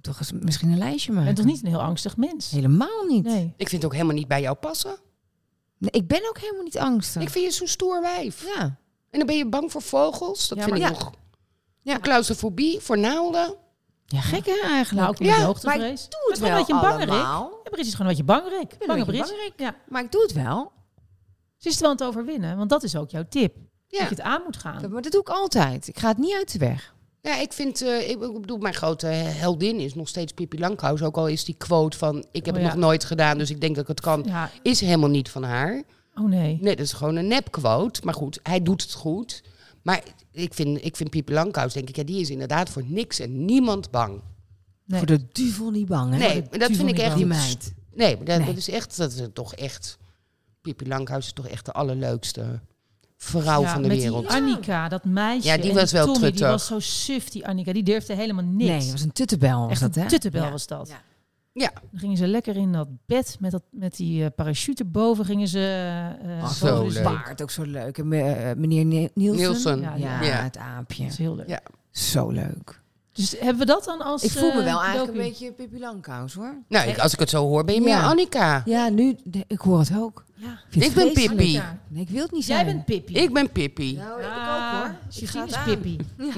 S5: Toch eens misschien een lijstje maken.
S4: En toch niet een heel angstig mens?
S5: Helemaal niet.
S4: Nee.
S6: Ik vind het ook helemaal niet bij jou passen.
S5: Nee, ik ben ook helemaal niet angstig.
S6: Ik vind je zo'n stoer wijf.
S5: Ja.
S6: En dan ben je bang voor vogels. Dat
S4: Ja,
S6: vind ik
S5: maar- Ja.
S6: nog. Ja. Claustrofobie, voor naalden.
S5: ja, gek hè
S4: Nou,
S5: eigenlijk.
S4: ook weer
S6: Ja,
S4: hoogtevrees.
S5: maar ik
S4: Het
S5: doe
S4: is
S5: het wel
S4: gewoon een beetje een bangerik.
S5: allemaal.
S4: Ja, Brit is gewoon een beetje bangerik.
S5: ben een
S4: Bange
S5: beetje
S4: Brit. Ja.
S5: Maar ik doe het wel.
S4: Ze is het wel aan het overwinnen, want dat is ook jouw tip.
S6: Ja.
S4: Dat je het aan moet gaan.
S5: Dat- Maar dat doe ik altijd. Ik ga het niet uit de weg.
S6: Ja, ik vind, eh, ik ik bedoel, mijn grote heldin is nog steeds Pippi Langkous. Ook al is die quote van, ik heb
S4: Oh,
S6: het
S4: ja.
S6: nog nooit gedaan, dus ik denk dat ik het kan,
S4: Ja.
S6: is helemaal niet van haar.
S4: Oh nee.
S6: Nee, dat is gewoon een nep quote. Maar goed, hij doet het goed. Maar ik vind, ik vind Pippi Langkous, denk ik, ja, die is inderdaad voor niks en niemand bang.
S4: Nee.
S5: Voor de duivel niet bang hè?
S6: Nee,
S5: Voor de
S6: maar dat vind
S5: duivel
S6: ik
S5: niet
S6: echt
S5: bang. Die
S6: iets-
S5: meid.
S6: Nee, maar dat,
S5: Nee.
S6: dat is echt, dat is toch echt, Pippi Langkous is toch echt de allerleukste vrouw
S4: Ja,
S6: van de
S4: met
S6: wereld.
S4: die Annika, dat meisje.
S6: Ja, die
S4: en
S6: was wel
S4: Tommy, Die
S6: truttig.
S4: was zo suf, die Annika. Die durfde helemaal niks.
S5: Nee, dat was een tuttebel. Was
S4: Echt
S5: dat, hè?
S4: een tuttebel
S5: Ja.
S4: was dat.
S5: Ja.
S6: Ja.
S4: Dan gingen ze lekker in dat bed met, dat, met die eh, parachute boven. Gingen ze... eh,
S6: Ach,
S4: boven
S6: zo
S4: de zee.
S6: leuk.
S5: Paard ook zo leuk. En eh, meneer Ne- Nielsen.
S6: Nielsen.
S4: Ja,
S5: Ja,
S6: Ja.
S5: het aapje.
S4: Dat is heel leuk.
S6: Ja.
S5: Zo leuk.
S4: Dus hebben we dat dan als
S5: Ik voel me
S4: eh,
S5: wel eigenlijk
S4: docu?
S5: een beetje Pippi Langkous hoor.
S6: Nou, ik- als ik het zo hoor, ben je
S5: Ja.
S6: meer Annika.
S5: Ja, nu, nee, ik hoor het ook.
S4: Ja.
S5: vind
S6: Ik
S5: het
S6: ben
S5: vreselijk.
S6: Pippi.
S4: Annika.
S5: Nee, ik wil het niet
S4: Jij
S5: zijn.
S4: bent Pippi.
S6: Oh, Ik ben Pippi.
S5: Nou,
S4: Ah, Justine is Pippi.
S5: Ja.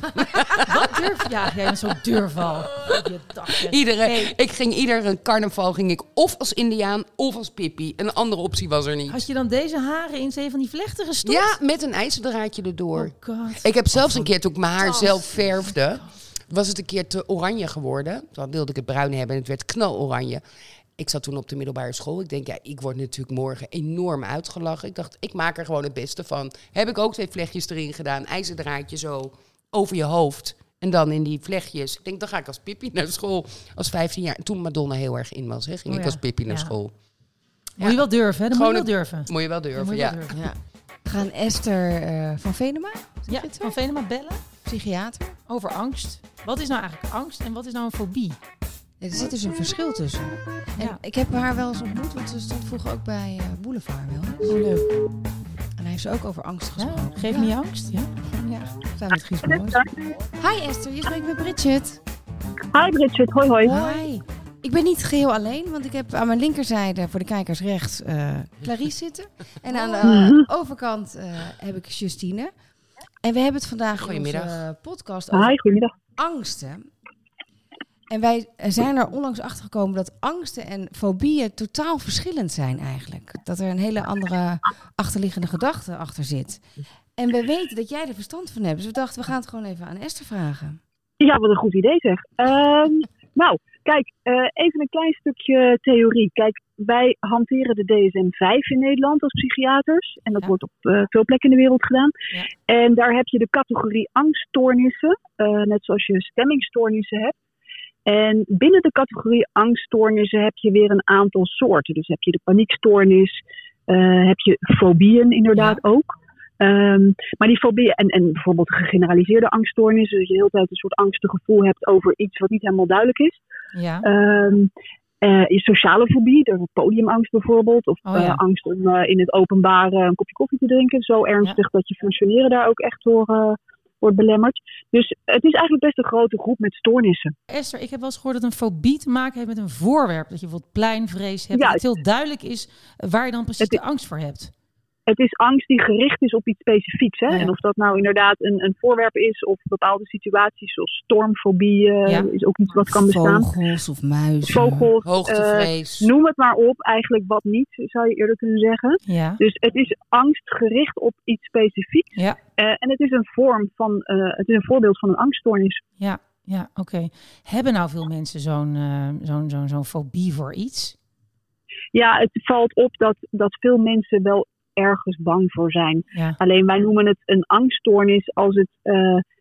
S4: Wat durf ja, jij bent zo'n durval. Je dacht het.
S6: Iedere,
S4: Hey,
S6: Ik ging iedere carnaval ging ik of als Indiaan of als Pippi. Een andere optie was er niet.
S4: Had je dan deze haren in twee van die vlechten gestopt?
S6: Ja, met een ijzerdraadje erdoor.
S4: Oh god.
S6: Ik heb zelfs een keer, toen ik mijn haar zelf verfde, was het een keer te oranje geworden. Dan wilde ik het bruin hebben en het werd knaloranje. Ik zat toen op de middelbare school. Ik denk, ja, ik word natuurlijk morgen enorm uitgelachen. Ik dacht, ik maak er gewoon het beste van. Heb ik ook twee vlechtjes erin gedaan. IJzerdraadje zo over je hoofd. En dan in die vlechtjes. Ik denk, dan ga ik als Pippi naar school. Als 15 jaar. En Toen Madonna heel erg in was, hè, ging
S4: Oh
S6: ik
S4: ja,
S6: als Pippi naar
S4: ja.
S6: school.
S4: Moet je wel durven, hè? Dat moet je
S6: Gewoon
S4: wel durven.
S6: Moet je wel durven,
S4: Dat moet je
S6: ja.
S4: wel durven.
S5: Ja. We gaan Esther eh, van Venema,
S4: Ja, van Venema bellen
S5: psychiater.
S4: over angst. Wat is nou eigenlijk angst en wat is nou een fobie?
S5: Ja, er zit dus een verschil tussen. En
S4: Ja.
S5: ik heb haar wel eens ontmoet, want ze stond vroeger ook bij eh, Boulevard wel.
S4: Oh, leuk.
S5: En hij heeft ze ook over angst gesproken.
S4: Ja, geef
S5: Ja.
S4: me je angst, ja?
S5: Ja, samen met Gies Moors. Hi Esther, je spreekt met Bridget.
S10: Hi Bridget, hoi hoi.
S5: Hi. Ik ben niet geheel alleen, want ik heb aan mijn linkerzijde, voor de kijkers rechts, eh Clarice zitten. En aan de eh, overkant eh, heb ik Justine. En we hebben het vandaag in onze
S6: Goedemiddag.
S5: eh, podcast over
S10: Hi, goedemiddag.
S5: angsten. En wij eh, zijn er onlangs achter gekomen dat angsten en fobieën totaal verschillend zijn eigenlijk. Dat er een hele andere achterliggende gedachte achter zit. En we weten dat jij er verstand van hebt. Dus we dachten, we gaan het gewoon even aan Esther vragen.
S11: Ja, wat een goed idee zeg. Ehm, nou, kijk, eh, even een klein stukje theorie. Kijk, wij hanteren de DSM-5 in Nederland als psychiaters. En dat wordt op eh, veel plekken in de wereld gedaan. En daar heb je de categorie angststoornissen, eh, net zoals je stemmingstoornissen hebt. En binnen de categorie angststoornissen heb je weer een aantal soorten. Dus heb je de paniekstoornis, eh, heb je fobieën inderdaad ook. Ehm, maar die fobieën en, en bijvoorbeeld gegeneraliseerde angststoornissen, dat je de hele tijd een soort angstig gevoel hebt over iets wat niet helemaal duidelijk is.
S4: Ja.
S11: Ehm, eh, je sociale fobie, dus podiumangst bijvoorbeeld, of
S4: Oh ja.
S11: eh, angst om eh, in het openbaar eh, een kopje koffie te drinken. Zo ernstig dat je functioneren daar ook echt door eh, wordt belemmerd. Dus het is eigenlijk best een grote groep met stoornissen.
S4: Esther, ik heb wel eens gehoord dat een fobie te maken heeft met een voorwerp. Dat je bijvoorbeeld pleinvrees hebt. Dat
S11: Juist.
S4: het heel duidelijk is waar je dan precies de angst voor hebt.
S11: het is angst die gericht is op iets specifieks. Hè?
S4: Ja.
S11: En of dat nou inderdaad een, een voorwerp is of bepaalde situaties zoals stormfobie eh,
S5: Ja.
S11: is ook iets wat kan bestaan.
S5: Vogels of muizen.
S11: Vogels,
S6: Hoogtevrees.
S11: eh, noem het maar op. Eigenlijk wat niet, zou je eerder kunnen zeggen.
S4: Ja.
S11: Dus het is angst gericht op iets specifieks.
S4: Ja.
S11: Eh, en het is een vorm van, eh, het is een voorbeeld van een angststoornis.
S4: Ja, ja oké. Hebben nou veel mensen zo'n eh, zo'n zo'n zo'n fobie voor iets?
S11: Ja, het valt op dat, dat veel mensen wel ergens bang voor zijn.
S4: Ja.
S11: Alleen wij noemen het een angststoornis als het, eh,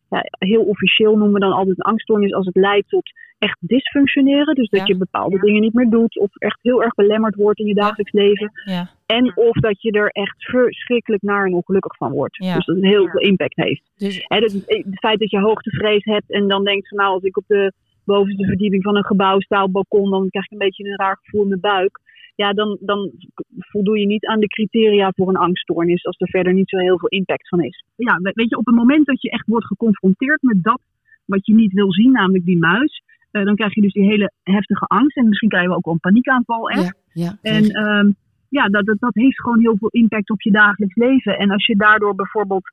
S11: ja, heel officieel noemen we dan altijd een angststoornis als het leidt tot echt dysfunctioneren. Dus dat
S4: Ja.
S11: je bepaalde dingen niet meer doet of echt heel erg belemmerd wordt in je dagelijks leven.
S4: Ja.
S11: En of dat je er echt verschrikkelijk naar en ongelukkig van wordt.
S4: Ja.
S11: Dus dat het heel veel impact heeft.
S4: Dus
S11: Hè, dat, eh, het feit dat je hoogtevrees hebt en dan denkt van nou als ik op de bovenste verdieping van een gebouw sta op het balkon dan krijg ik een beetje een raar gevoel in mijn buik. Ja, dan, dan voldoe je niet aan de criteria voor een angststoornis als er verder niet zo heel veel impact van is. Ja, we- weet je, op het moment dat je echt wordt geconfronteerd met dat wat je niet wil zien, namelijk die muis, eh, dan krijg je dus die hele heftige angst en misschien krijgen we ook wel een paniekaanval echt.
S6: Ja, ja.
S11: En ehm, ja, dat, dat, dat heeft gewoon heel veel impact op je dagelijks leven. En als je daardoor bijvoorbeeld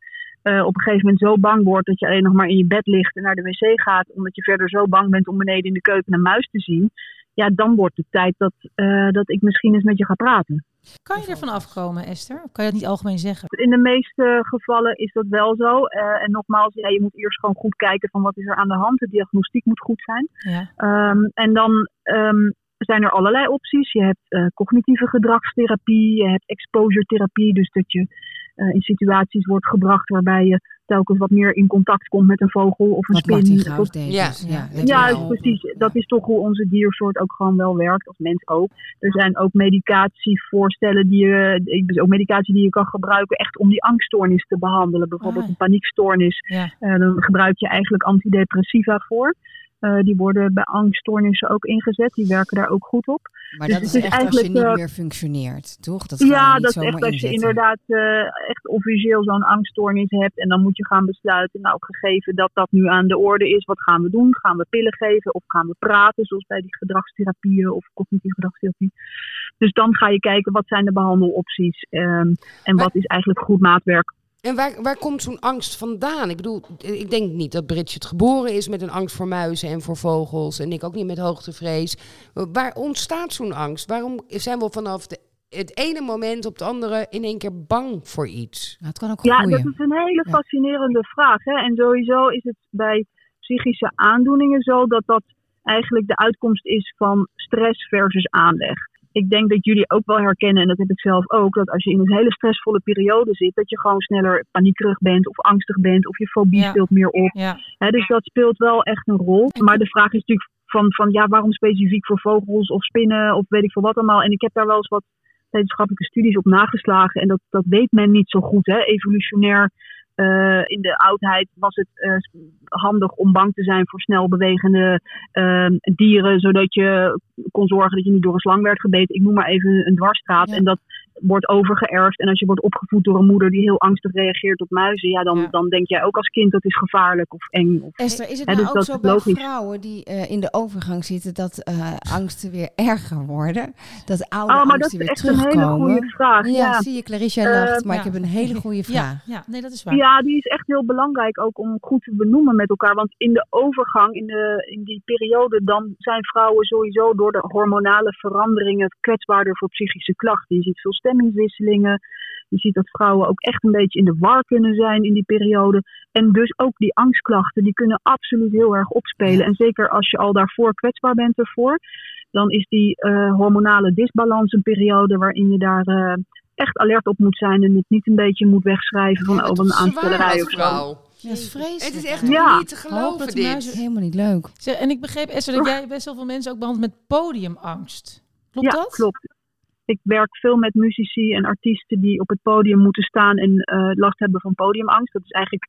S11: eh, op een gegeven moment zo bang wordt dat je alleen nog maar in je bed ligt en naar de wc gaat, omdat je verder zo bang bent om beneden in de keuken een muis te zien, ja, dan wordt het tijd dat, eh, dat ik misschien eens met je ga praten.
S4: kan je ervan afkomen, Esther? Of kan je dat niet algemeen zeggen?
S11: In de meeste gevallen is dat wel zo. Eh, en nogmaals, ja, je moet eerst gewoon goed kijken van wat is er aan de hand. De diagnostiek moet goed zijn.
S4: Ja.
S11: Ehm, en dan ehm, zijn er allerlei opties. Je hebt eh, cognitieve gedragstherapie, je hebt exposure therapie, dus dat je eh, in situaties wordt gebracht waarbij je telkens wat meer in contact komt met een vogel of een
S5: Wat
S11: spin.
S5: Martin
S11: Of-
S5: Gauws deed.
S6: Ja,
S5: dus,
S6: ja.
S5: dat
S11: ja,
S5: we
S11: is
S5: al-
S11: precies. Dat is toch hoe onze diersoort ook gewoon wel werkt, als mens ook. Er zijn ook medicatievoorstellen die je, ik bedoel, ook medicatie die je kan gebruiken echt om die angststoornis te behandelen. Bijvoorbeeld
S4: Ah.
S11: een paniekstoornis.
S4: Ja.
S11: Eh, dan gebruik je eigenlijk antidepressiva voor. Eh, die worden bij angststoornissen ook ingezet. Die werken daar ook goed op.
S5: Maar
S11: Dus
S5: dat is echt
S11: het is
S5: als je
S11: eigenlijk,
S5: niet
S11: eh,
S5: meer functioneert, toch? Dat ga je
S11: Ja,
S5: niet
S11: dat is
S5: zomaar
S11: echt als je
S5: inzetten.
S11: inderdaad eh, echt officieel zo'n angststoornis hebt. En dan moet je gaan besluiten, nou gegeven dat dat nu aan de orde is, wat gaan we doen? Gaan we pillen geven of gaan we praten, zoals bij die gedragstherapieën of cognitieve gedragstherapie. Dus dan ga je kijken, wat zijn de behandelopties ehm, en
S6: Maar-
S11: wat is eigenlijk goed maatwerk.
S6: En waar, waar komt zo'n angst vandaan? Ik bedoel, ik denk niet dat Bridget geboren is met een angst voor muizen en voor vogels. En ik ook niet met hoogtevrees. Waar ontstaat zo'n angst? Waarom zijn we vanaf de, het ene moment op het andere in één keer bang voor iets?
S5: Nou, het kan ook
S11: Ja,
S5: groeien.
S11: dat is een hele fascinerende vraag. Hè? En sowieso is het bij psychische aandoeningen zo dat dat eigenlijk de uitkomst is van stress versus aanleg. Ik denk dat jullie ook wel herkennen, en dat heb ik zelf ook, dat als je in een hele stressvolle periode zit, dat je gewoon sneller paniekerig bent of angstig bent of je fobie
S4: Ja.
S11: speelt meer op.
S4: Ja.
S11: Hè, dus dat speelt wel echt een rol. Maar de vraag is natuurlijk van, van ja, waarom specifiek voor vogels of spinnen of weet ik veel wat allemaal. En ik heb daar wel eens wat wetenschappelijke studies op nageslagen. En dat, dat weet men niet zo goed. Hè. Evolutionair eh, in de oudheid was het eh, handig om bang te zijn voor snel bewegende eh, dieren. Zodat je kon zorgen dat je niet door een slang werd gebeten. Ik noem maar even een dwarsstraat.
S5: Ja.
S11: En dat wordt overgeërfd. En als je wordt opgevoed door een moeder die heel angstig reageert op muizen, ja, dan,
S12: Ja.
S11: dan denk jij ook als kind dat is gevaarlijk of eng. Of,
S12: Esther, is het
S11: hè,
S12: nou
S11: dus
S12: ook
S11: dat
S12: zo
S11: is
S12: bij
S11: logisch.
S12: vrouwen die eh, in de overgang zitten dat eh, angsten weer erger worden? Dat oude
S11: Oh, maar dat
S12: angsten
S11: is
S12: weer
S11: echt een hele
S12: terugkomen?
S11: goede vraag.
S12: ja,
S11: ja. Eh,
S12: zie je, Clarissa lacht, maar
S4: ja.
S12: ik heb een hele goede
S4: Ja,
S12: vraag.
S4: ja, nee, dat is waar.
S11: Ja, die is echt heel belangrijk ook om goed te benoemen met elkaar. Want in de overgang, in, de, in die periode, dan zijn vrouwen sowieso door de hormonale veranderingen kwetsbaarder voor psychische klachten. Je ziet veel stemmingswisselingen. Je ziet dat vrouwen ook echt een beetje in de war kunnen zijn in die periode. En dus ook die angstklachten, die kunnen absoluut heel erg opspelen. En zeker als je al daarvoor kwetsbaar bent ervoor, dan is die eh, hormonale disbalans een periode waarin je daar eh, echt alert op moet zijn. En het niet een beetje moet wegschrijven van oh, wat een aanstellerij of zo.
S4: Ja, dat is vreselijk.
S6: Het is echt
S11: Ja.
S6: niet te
S4: Hoop
S6: geloven
S4: dat de
S6: dit.
S4: muizen-
S12: Helemaal niet leuk.
S4: Zeg, en ik begreep, Esther, dat jij best wel veel mensen ook behandelt met podiumangst. Klopt
S11: ja,
S4: dat?
S11: klopt. Ik werk veel met muzici en artiesten die op het podium moeten staan en eh, last hebben van podiumangst. Dat is eigenlijk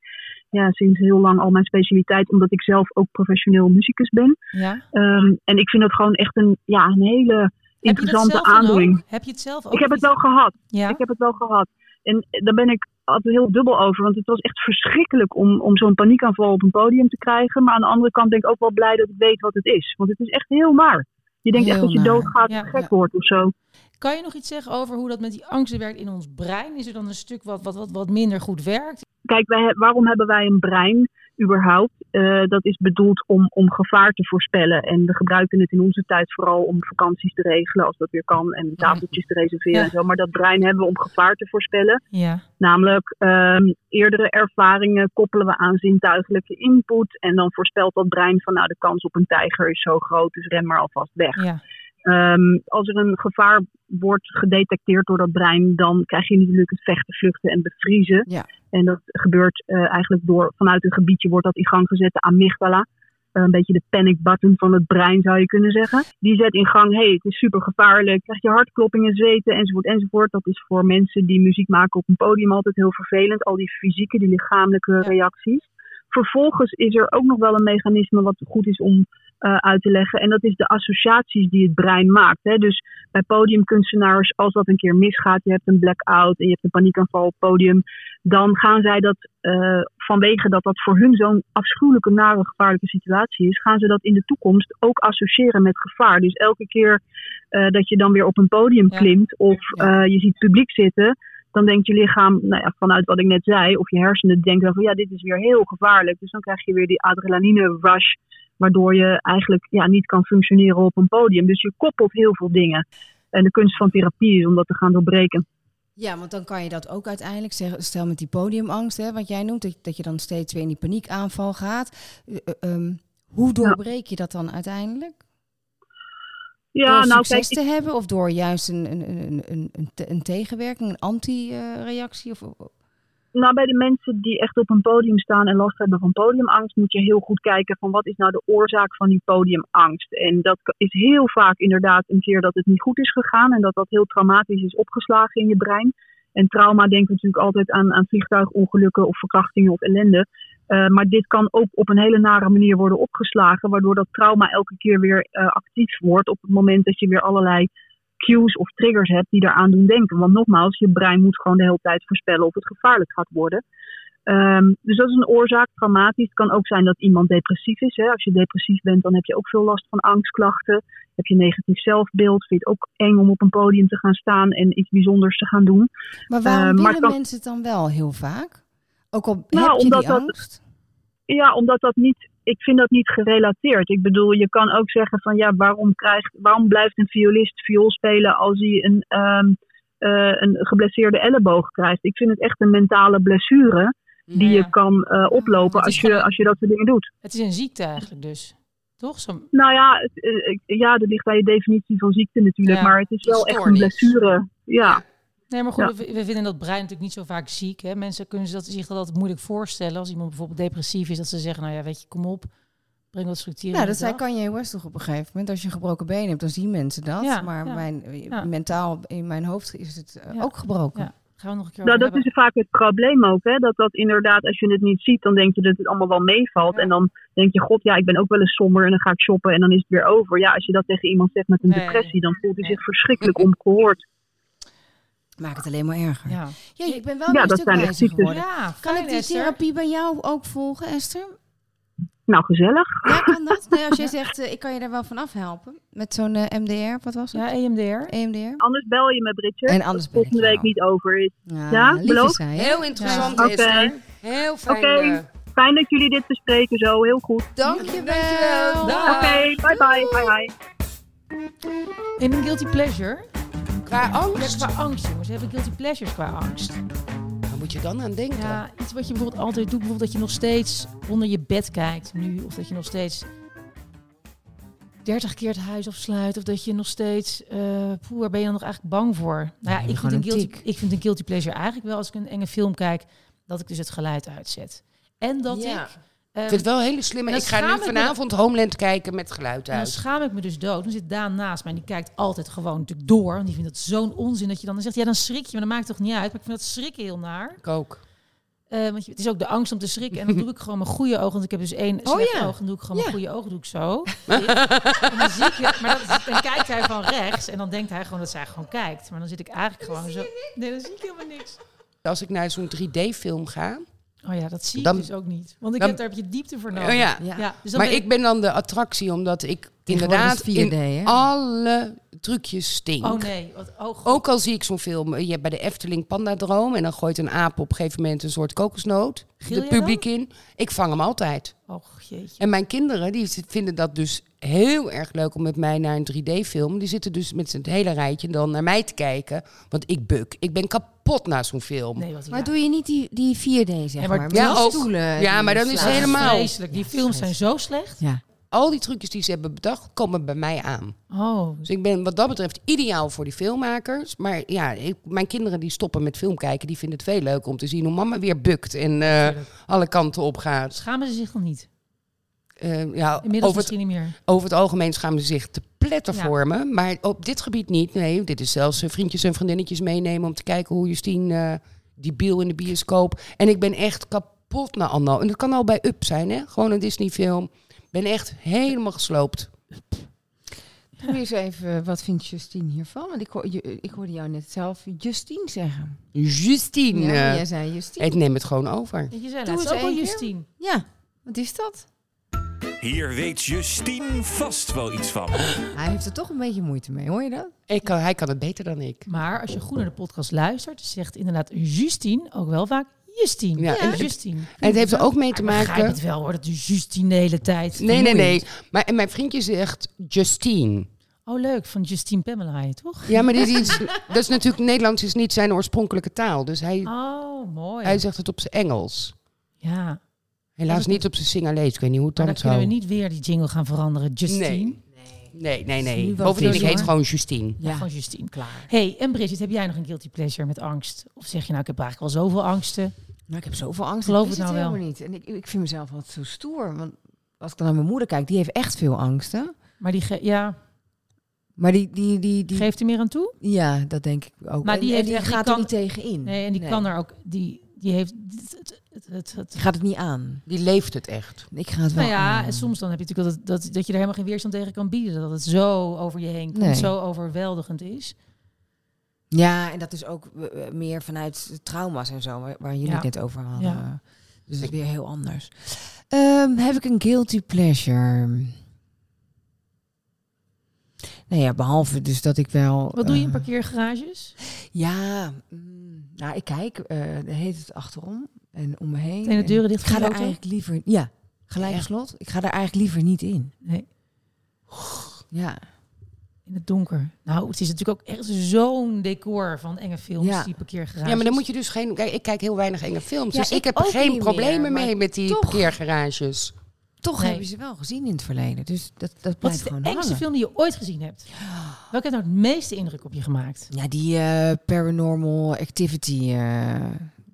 S11: ja, sinds heel lang al mijn specialiteit, omdat ik zelf ook professioneel muzikus ben.
S4: Ja.
S11: Ehm, en ik vind dat gewoon echt een, ja, een hele
S4: Heb je dat
S11: interessante
S4: zelf dan
S11: aandoening.
S4: ook? Heb je het zelf ook?
S11: Ik heb
S4: of
S11: het wel
S4: niet?
S11: gehad.
S4: Ja.
S11: Ik heb het wel gehad. En daar ben ik altijd heel dubbel over. Want het was echt verschrikkelijk om, om zo'n paniekaanval op een podium te krijgen. Maar aan de andere kant ben ik ook wel blij dat ik weet wat het is. Want het is echt heel naar. Je denkt echt
S12: Heel
S11: dat je
S12: naar.
S11: doodgaat
S4: Ja,
S11: en gek
S4: ja.
S11: wordt of zo.
S4: Kan je nog iets zeggen over hoe dat met die angsten werkt in ons brein? Is er dan een stuk wat, wat, wat, wat minder goed werkt?
S11: Kijk, wij, he- waarom hebben wij een brein überhaupt? Eh, dat is bedoeld om, om gevaar te voorspellen. En we gebruiken het in onze tijd vooral om vakanties te regelen, als dat weer kan. En tafeltjes te reserveren
S4: Ja.
S11: en zo. Maar dat brein hebben we om gevaar te voorspellen.
S4: Ja.
S11: Namelijk, ehm, eerdere ervaringen koppelen we aan zintuigelijke input. En dan voorspelt dat brein van, nou, de kans op een tijger is zo groot, dus ren maar alvast weg.
S4: Ja.
S11: Ehm, als er een gevaar wordt gedetecteerd door dat brein, dan krijg je natuurlijk het vechten, vluchten en bevriezen.
S12: Ja.
S11: En dat gebeurt eh, eigenlijk door, vanuit een gebiedje wordt dat in gang gezet, de amygdala. Eh, Een beetje de panic button van het brein zou je kunnen zeggen. Die zet in gang, hey, het is super gevaarlijk, krijg je hartkloppingen, zweten enzovoort enzovoort. Dat is voor mensen die muziek maken op een podium altijd heel vervelend. Al die fysieke, die lichamelijke reacties. Vervolgens is er ook nog wel een mechanisme wat goed is om eh, uit te leggen. En dat is de associaties die het brein maakt. Hè. Dus bij podiumkunstenaars, als dat een keer misgaat, je hebt een blackout en je hebt een paniekaanval op het podium, dan gaan zij dat eh, vanwege dat dat voor hun zo'n afschuwelijke, nare, gevaarlijke situatie is, gaan ze dat in de toekomst ook associëren met gevaar. Dus elke keer eh, dat je dan weer op een podium
S4: Ja.
S11: klimt of eh, je ziet publiek zitten, dan denkt je lichaam, nou ja, vanuit wat ik net zei, of je hersenen denken dan van ja, dit is weer heel gevaarlijk. Dus dan krijg je weer die adrenaline rush. Waardoor je eigenlijk ja, niet kan functioneren op een podium. Dus je koppelt heel veel dingen. En de kunst van therapie is om dat te gaan doorbreken.
S12: Ja, want dan kan je dat ook uiteindelijk zeggen. Stel met die podiumangst, hè, wat jij noemt, dat, dat je dan steeds weer in die paniekaanval gaat. Eh, eh, ehm, hoe doorbreek je dat dan uiteindelijk?
S11: Ja,
S12: door
S11: nou kijk,
S12: succes te hebben of door juist een, een, een, een, een, te- een tegenwerking, een anti-reactie? Of,
S11: Nou, bij de mensen die echt op een podium staan en last hebben van podiumangst, moet je heel goed kijken van wat is nou de oorzaak van die podiumangst. En dat is heel vaak inderdaad een keer dat het niet goed is gegaan en dat dat heel traumatisch is opgeslagen in je brein. En trauma denken we natuurlijk altijd aan, aan vliegtuigongelukken of verkrachtingen of ellende. Eh, maar dit kan ook op een hele nare manier worden opgeslagen, waardoor dat trauma elke keer weer eh, actief wordt op het moment dat je weer allerlei cues of triggers hebt die daaraan doen denken. Want nogmaals, je brein moet gewoon de hele tijd voorspellen of het gevaarlijk gaat worden. Ehm, dus dat is een oorzaak, traumatisch. Het kan ook zijn dat iemand depressief is. Hè. Als je depressief bent, dan heb je ook veel last van angstklachten. Heb je negatief zelfbeeld, vind je het ook eng om op een podium te gaan staan en iets bijzonders te gaan doen.
S12: Maar waarom
S11: Eh, maar
S12: willen
S11: kan-
S12: mensen het dan wel heel vaak? Ook al
S11: Nou,
S12: heb je
S11: omdat
S12: die
S11: dat-
S12: angst?
S11: Ja, omdat dat niet. Ik vind dat niet gerelateerd. Ik bedoel, je kan ook zeggen van ja, waarom, krijgt, waarom blijft een violist viool spelen als hij een, ehm, eh, een geblesseerde elleboog krijgt? Ik vind het echt een mentale blessure die
S4: Ja, ja.
S11: je kan eh, oplopen
S4: Dat is
S11: als je,
S4: gewoon-
S11: als je dat soort dingen doet.
S4: Het is een ziekte eigenlijk dus. Toch? Zo...
S11: Nou ja, het- eh, ik- ja, dat ligt bij je definitie van ziekte natuurlijk,
S4: Ja,
S11: maar het is wel echt een
S6: stoornis.
S11: blessure. Ja,
S4: Nee, maar goed, we, we vinden dat brein natuurlijk niet zo vaak ziek. Hè? Mensen kunnen zich dat, zich dat altijd moeilijk voorstellen. Als iemand bijvoorbeeld depressief is, dat ze zeggen, nou ja, weet je, kom op. Breng wat structuur
S12: Nou,
S4: in de
S12: dat zei
S4: dag.
S12: Kanye West toch op een gegeven moment. Als je een gebroken been hebt, dan zien mensen dat.
S4: Ja,
S12: maar
S4: ja,
S12: mijn,
S4: ja.
S12: mentaal in mijn hoofd is het eh,
S4: Ja,
S12: ook gebroken.
S4: ja. Gaan we nog een keer
S11: nou,
S4: over
S11: dat is
S4: hebben.
S11: vaak het probleem ook. Hè? Dat dat inderdaad, als je het niet ziet, dan denk je dat het allemaal wel meevalt.
S4: Ja.
S11: En dan denk je, god ja, ik ben ook wel eens somber en dan ga ik shoppen en dan is het weer over. Ja, als je dat tegen iemand zegt met een
S4: Nee,
S11: depressie, dan voelt hij
S4: nee.
S11: zich verschrikkelijk ongehoord.
S13: Maakt het alleen maar erger.
S4: Ja.
S5: Ja, ik ben wel
S11: Ja,
S5: weer een
S11: dat
S5: stuk
S11: zijn de
S5: wijzer
S11: ziektes.
S5: geworden.
S4: Ja,
S5: Kan
S4: fijn,
S5: ik die
S4: Esther.
S5: therapie bij jou ook volgen, Esther?
S11: Nou, gezellig.
S5: Ja, kan dat? Nee, als jij zegt, eh, ik kan je daar wel van afhelpen. Met zo'n eh, MDR, wat was het? E
S4: Ja, E EMDR.
S5: EMDR.
S11: Anders bel je me, Bridget.
S5: En anders ben ik
S11: Volgende week
S5: jou.
S11: niet over is.
S5: Ja,
S11: Ja,
S5: lief
S11: beloof?
S5: is Nou, zij, hè?
S6: Heel interessant,
S11: Ja. Oké.
S6: Esther. Heel fijn.
S11: Oké.
S6: eh,
S11: Fijn dat jullie dit bespreken zo. Heel goed. Oké,
S5: Dankjewel.
S6: Dag.
S11: bye bye. Bye bye.
S4: In een guilty pleasure.
S6: Qua
S4: Ja,
S6: angst,
S4: qua angst, jongens. We hebben guilty pleasures qua angst.
S6: waar moet je dan aan denken?
S4: Ja, iets wat je bijvoorbeeld altijd doet. Bijvoorbeeld dat je nog steeds onder je bed kijkt nu. Of dat je nog steeds 30 keer het huis afsluit. Of dat je nog steeds... eh poeh, waar ben je dan nog eigenlijk bang voor? Nou ja, ik vind, een guilty, ik vind een guilty pleasure eigenlijk wel als ik een enge film kijk... dat ik dus het geluid uitzet. En dat
S6: Ja.
S4: ik... eh,
S6: Ik vind het wel een hele slimme.
S4: Dan
S6: Ik ga
S4: schaam
S6: nu
S4: ik me-
S6: vanavond Homeland kijken met geluid
S4: En dan
S6: uit.
S4: schaam ik me dus dood. Dan zit Daan naast mij en die kijkt altijd gewoon natuurlijk door. Want die vindt dat zo'n onzin dat je dan zegt... ja, dan schrik je, maar dat maakt toch niet uit. Maar ik vind dat schrikken heel naar.
S6: Ik ook.
S4: Eh, want je- het is ook de angst om te schrikken. En dan doe ik gewoon mijn goede ogen. Want ik heb dus één slecht
S6: ja.
S4: oog. Dan doe ik gewoon
S6: Ja.
S4: mijn goede ogen doe ik zo. en dan zie ik het. Maar dat, dan kijkt hij van rechts. En dan denkt hij gewoon dat zij gewoon kijkt. Maar dan zit ik eigenlijk gewoon zo... Nee, dan zie ik helemaal niks.
S6: Als ik naar zo'n 3D-film ga.
S4: Oh ja, dat zie
S6: Dan-
S4: ik dus ook niet. Want ik
S6: dan-
S4: heb, daar heb je diepte voor nodig.
S6: Oh ja.
S4: dus dan
S6: maar
S4: ben
S6: ik ben dan de attractie, omdat ik inderdaad
S5: is 4D,
S6: in
S5: hè?
S6: alle trucjes stink.
S4: Oh nee, wat, oh god.
S6: Ook al zie ik zo'n film, eh, je hebt bij de Efteling Pandadroom en dan gooit een aap op een gegeven moment een soort kokosnoot
S4: Gil
S6: het
S4: je
S6: publiek in. Ik vang hem altijd.
S4: Oh jeetje.
S6: En mijn kinderen die z- vinden dat dus heel erg leuk om met mij naar een 3D-film. Die zitten dus met z'n hele rijtje dan naar mij te kijken, want ik buk. Ik ben kapot na zo'n film.
S4: Nee, wat
S5: Maar doe je niet die, die 4D, zeg
S4: Ja, maar
S5: maar. Met
S6: ja,
S5: die
S6: ook.
S5: stoelen.
S6: Ja,
S5: die
S6: maar dan
S5: je
S6: is
S5: slaat.
S6: het dus helemaal-
S4: Vreselijk. Die films zijn zo slecht.
S5: Ja.
S6: Al die trucjes die ze hebben bedacht, komen bij mij aan.
S4: Oh,
S6: Dus ik ben wat dat betreft ideaal voor die filmmakers. Maar ja, ik- mijn kinderen die stoppen met film kijken, die vinden het veel leuk om te zien hoe mama weer bukt en eh, alle kanten op gaat.
S4: schamen ze zich dan niet?
S6: Eh, ja,
S4: Inmiddels
S6: over, het,
S4: misschien niet meer.
S6: over het algemeen schamen ze zich te pletter
S4: Ja.
S6: voor me. Maar op dit gebied niet. Nee, dit is zelfs eh, vriendjes en vriendinnetjes meenemen om te kijken hoe Justine eh, die biel in de bioscoop. En ik ben echt kapot na Anno. En dat kan al bij Up zijn, hè? Gewoon een Disney-film. Ik ben echt helemaal gesloopt.
S5: Probeer eens even, eh, wat vindt Justine hiervan? Want ik, hoor, je- ik hoorde jou net zelf Justine zeggen.
S6: Justine.
S5: Ja,
S6: eh,
S5: jij zei Justine.
S6: Ik neem het gewoon over.
S4: Je zei
S5: Doe
S4: laatst
S5: eens
S4: ook al
S5: één keer.
S4: Justine.
S5: Ja, wat is dat?
S1: Hier weet Justine vast wel iets van.
S5: Hij heeft er toch een beetje moeite mee, hoor je dat?
S6: Ik kan, hij kan het beter dan ik.
S4: Maar als je goed naar de podcast luistert, zegt inderdaad Justine ook wel vaak Justine.
S6: Ja,
S4: Ja,
S6: en-
S4: Justine.
S6: En het heeft er ook mee te
S4: Ik begrijp
S6: maken.
S4: het wel hoor, dat is Justine de hele tijd.
S6: Nee, nee, nee.
S4: Vermoeiend.
S6: Maar en mijn vriendje zegt Justine.
S4: Oh leuk, van Justine Pamela, heet, toch?
S6: Ja, maar dit is, iets- dat is natuurlijk Nederlands is niet zijn oorspronkelijke taal. Dus hij,
S4: Oh, mooi.
S6: hij zegt het op zijn Engels.
S4: ja, maar
S6: Helaas niet op zijn Singalees. Ik weet niet hoe het dan
S4: dan
S6: zou.
S4: kunnen we niet weer die jingle gaan veranderen. Justine.
S6: Nee. Nee, nee,
S5: is
S6: nee.
S5: nu wel
S6: Bovendien, ik
S5: vies,
S6: heet
S5: hoor.
S6: gewoon Justine.
S4: Ja. Gewoon Justine, klaar. hey, en Bridget, heb jij nog een guilty pleasure met angst? Of zeg je nou, ik heb eigenlijk wel zoveel angsten.
S5: Maar ik heb zoveel angst.
S4: Geloof
S5: ik
S4: het
S5: wist
S4: nou wel.
S5: helemaal niet. En ik, ik vind mezelf altijd zo stoer. Want als ik dan naar mijn moeder kijk, die heeft echt veel angsten.
S4: Maar die, ge- ja,
S5: Maar die, die, die, die,
S4: geeft er meer aan toe?
S5: ja, dat denk ik ook.
S4: Maar
S5: En-
S4: die
S5: en
S4: heeft echt- die
S5: gaat
S4: kan-
S5: er niet tegen in.
S4: Nee, en die kan er ook, die, die heeft het, het, het, het
S5: Die gaat het niet aan.
S6: Die leeft het echt.
S5: Ik ga het wel
S4: Nou ja,
S5: aan.
S4: en soms dan heb je natuurlijk dat, dat, dat je er helemaal geen weerstand tegen kan bieden. Dat het zo over je heen komt,
S5: Nee.
S4: zo overweldigend is.
S5: Ja, en dat is ook eh, eh, meer vanuit trauma's en zo, waar, waar jullie
S4: Ja.
S5: het net over hadden.
S4: Ja.
S5: Dus dat is weer heel anders. Ehm, heb ik een guilty pleasure? Nou ja, behalve dus dat ik wel...
S4: Wat doe je in
S5: eh,
S4: parkeergarages?
S5: Ja, mm, nou ik kijk, eh de heet het achterom en om me heen.
S4: Zijn de deuren dicht
S5: Ik ga daar
S4: gesloten?
S5: eigenlijk liever... Ja, gelijk
S6: Echt?
S5: slot. Ik ga daar eigenlijk liever niet in.
S4: Nee,
S5: Ja.
S4: in het donker. Nou, het is natuurlijk ook echt zo'n decor van enge films,
S5: Ja.
S4: die parkeergarages.
S6: Ja, maar dan moet je dus geen. Kijk, ik kijk heel weinig enge films.
S5: Ja,
S6: dus ik
S5: ik
S6: heb er
S5: ook
S6: geen
S5: niet
S6: problemen
S5: meer, maar
S6: mee met die
S5: toch.
S6: parkeergarages.
S5: Toch
S4: Nee.
S5: heb je ze wel gezien in het verleden. Dus dat, dat
S4: Wat
S5: blijft
S4: is de
S5: gewoon
S4: engste
S5: hangen.
S4: film die je ooit gezien hebt? Welke heeft nou het meeste indruk op je gemaakt?
S5: Ja, die eh, paranormal activity. eh,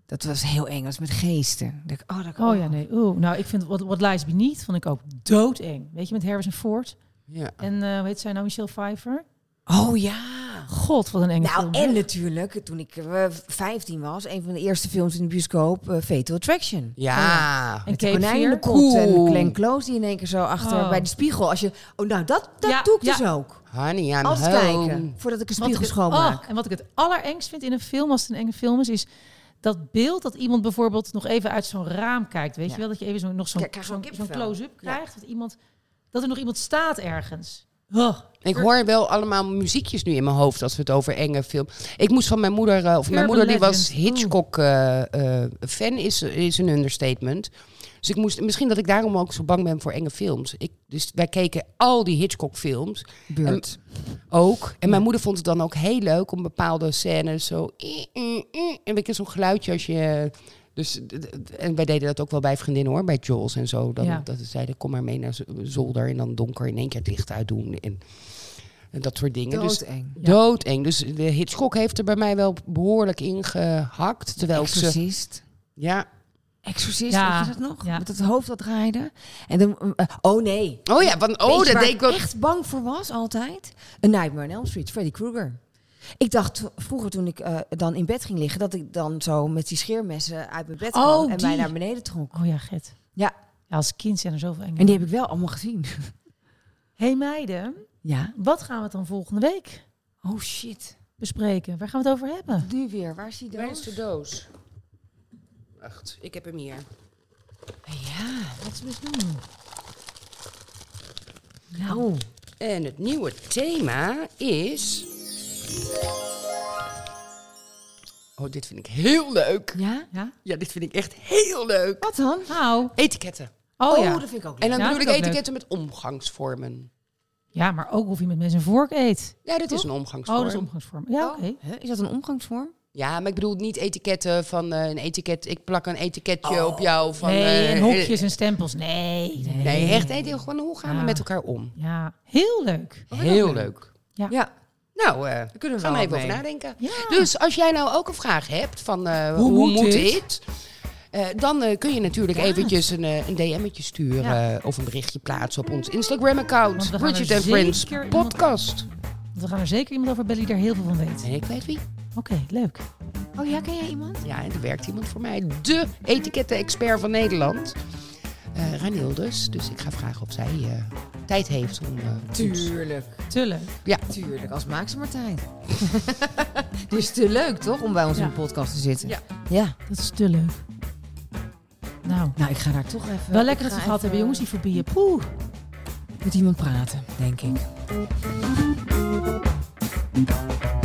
S5: dat was heel eng. Dat was met geesten. Ik Dacht, oh, dat
S4: Oh ja, nee. Oeh, nou, ik vind What, What Lies Beneath vond ik ook doodeng. Weet je, met Harrison Ford
S6: Ja.
S4: en eh, hoe heet zij nou, Michelle Pfeiffer?
S5: Oh ja.
S4: God, wat een enge
S5: Nou,
S4: film. hè?
S5: en natuurlijk, toen ik eh, 15 was, een van de eerste films in de bioscoop, eh, Fatal Attraction.
S6: Ja.
S4: en
S5: De
S4: Cape
S5: konijn in de
S4: Fear.
S5: kont en
S6: Cool.
S5: Glenn Close die in één keer zo achter
S4: Oh.
S5: bij de spiegel. Als je, oh, nou, dat, dat
S4: Ja,
S5: doe ik
S4: ja.
S5: dus ook.
S6: Honey, I'm
S14: Altijd
S6: home.
S14: kijken, voordat ik een
S4: Wat ik
S14: spiegel
S4: het-
S14: schoonmaak.
S4: oh, en wat ik het allerengst vind in een film, als het een enge film is, is dat beeld dat iemand bijvoorbeeld nog even uit zo'n raam kijkt. Weet
S14: Ja.
S4: je wel, dat je even zo, nog zo'n
S14: Ja, ik krijg
S4: zo'n-
S14: gewoon
S4: zo'n
S14: kippenvel.
S4: close-up krijgt. Dat, iemand, dat er nog iemand staat ergens. Oh,
S6: Ik hoor wel allemaal muziekjes nu in mijn hoofd als we het over enge film. Ik moest van mijn moeder, eh, of mijn
S4: Urban
S6: moeder die was
S4: legend.
S6: Hitchcock eh, eh, fan, is, is een understatement. Dus ik moest, misschien dat ik daarom ook zo bang ben voor enge films. Ik, dus wij keken al die Hitchcock films
S5: Beurt.
S6: ook. En mijn moeder vond het dan ook heel leuk om bepaalde scènes zo. i- i- i- En weet je, zo'n geluidje als je. Dus, d- d- en wij deden dat ook wel bij vriendinnen hoor, bij Jules en zo. Dan,
S4: Ja.
S6: Dat ze zeiden, kom maar mee naar z- zolder en dan donker in één keer het licht uitdoen. En, en dat soort dingen. Dus,
S5: Doodeng.
S4: Ja.
S6: Doodeng. Dus de Hitchcock heeft er bij mij wel behoorlijk in gehakt. Terwijl ik ze...
S5: Exorcist.
S6: Ja.
S5: Exorcist,
S4: Ja.
S5: weet je dat nog?
S4: Ja.
S5: Met het hoofd dat draaide. En dan, eh, oh nee.
S6: Oh ja, want
S5: Weet
S6: oh,
S5: je
S6: dat
S5: waar
S6: deed
S5: ik
S6: ik wel.
S5: echt bang voor was altijd? Een Nightmare on Elm Street, Freddy Krueger. Ik dacht v- vroeger toen ik eh, dan in bed ging liggen... dat ik dan zo met die scheermessen uit mijn bed
S4: Oh,
S5: kwam... en
S4: die.
S5: mij naar beneden trok.
S4: oh ja, Gert.
S5: Ja.
S4: Ja, Als kind zijn er zoveel enge.
S5: En die heb ik wel allemaal gezien.
S4: hey meiden,
S5: Ja.
S4: wat gaan we het dan volgende week
S5: Oh shit.
S4: bespreken? Waar gaan we het over hebben?
S5: Nu weer, waar is die
S6: Waar is
S5: doos?
S6: de doos? Wacht, ik heb hem hier.
S5: Ja,
S4: Wat zullen we eens doen?
S5: nou.
S6: En het nieuwe thema is. Oh, dit vind ik heel leuk.
S5: Ja?
S4: Ja?
S6: Ja, dit vind ik echt heel leuk.
S5: Wat dan?
S4: Nou,
S6: Etiketten.
S4: oh,
S5: Oh,
S4: ja.
S5: dat vind ik ook leuk.
S6: En dan
S4: Ja,
S6: bedoel ik
S4: vind ik ook
S6: etiketten met omgangsvormen.
S4: Ja, maar ook of je met mensen een vork eet.
S6: Ja, dat is
S4: Toch?
S6: een
S4: Oh,
S6: omgangsvorm.
S4: dat is omgangsvorm. Ja, oké.
S5: Huh, Is dat een omgangsvorm?
S6: Ja, maar ik bedoel niet etiketten van eh, een etiket. Ik plak een etiketje op jou van.
S4: Oh. nee,
S6: eh,
S4: en hokjes en stempels. Nee. nee.
S6: Nee, echt. nee, deel gewoon hoe gaan
S4: Ja.
S6: we met elkaar om?
S4: Ja, heel leuk.
S6: Heel leuk.
S4: Ja.
S6: Nou, eh
S5: kunnen we
S6: gaan we
S5: wel
S6: even
S5: mee.
S6: over nadenken.
S4: Ja.
S6: Dus als jij nou ook een vraag hebt van eh, hoe,
S4: moet
S6: moet,
S4: dit?
S6: dit? Eh, dan eh, kun je natuurlijk eventjes een, eh, een DM'tje sturen
S4: Ja.
S6: eh, of een berichtje plaatsen op ons
S4: Want we
S6: Instagram-account.
S4: gaan
S6: Bridget
S4: er
S6: and Friends
S4: zeker iemand-
S6: podcast.
S4: Want we gaan er zeker iemand over bellen die daar heel veel van weet.
S6: En ik weet wie.
S4: Oké, leuk.
S5: Oh ja, ken jij iemand?
S6: Ja, en er werkt iemand voor mij. De etiketten-expert van Nederland. Eh Raniel dus. Dus ik ga vragen of zij eh, tijd heeft om... eh, ons-
S5: Tuurlijk.
S4: Te leuk.
S5: Tuurlijk, als maak ze maar tijd. Dit is te leuk, toch? Om bij ons
S4: Ja.
S5: in de podcast te zitten.
S6: Ja.
S5: ja.
S4: Dat is te leuk. Nou,
S5: Nou, ik ga daar toch even...
S4: wel lekker
S5: ik
S4: dat
S5: ga
S4: we gehad
S5: even
S4: hebben, jongens, die fobieën. Poeh.
S5: Met iemand praten, denk ik.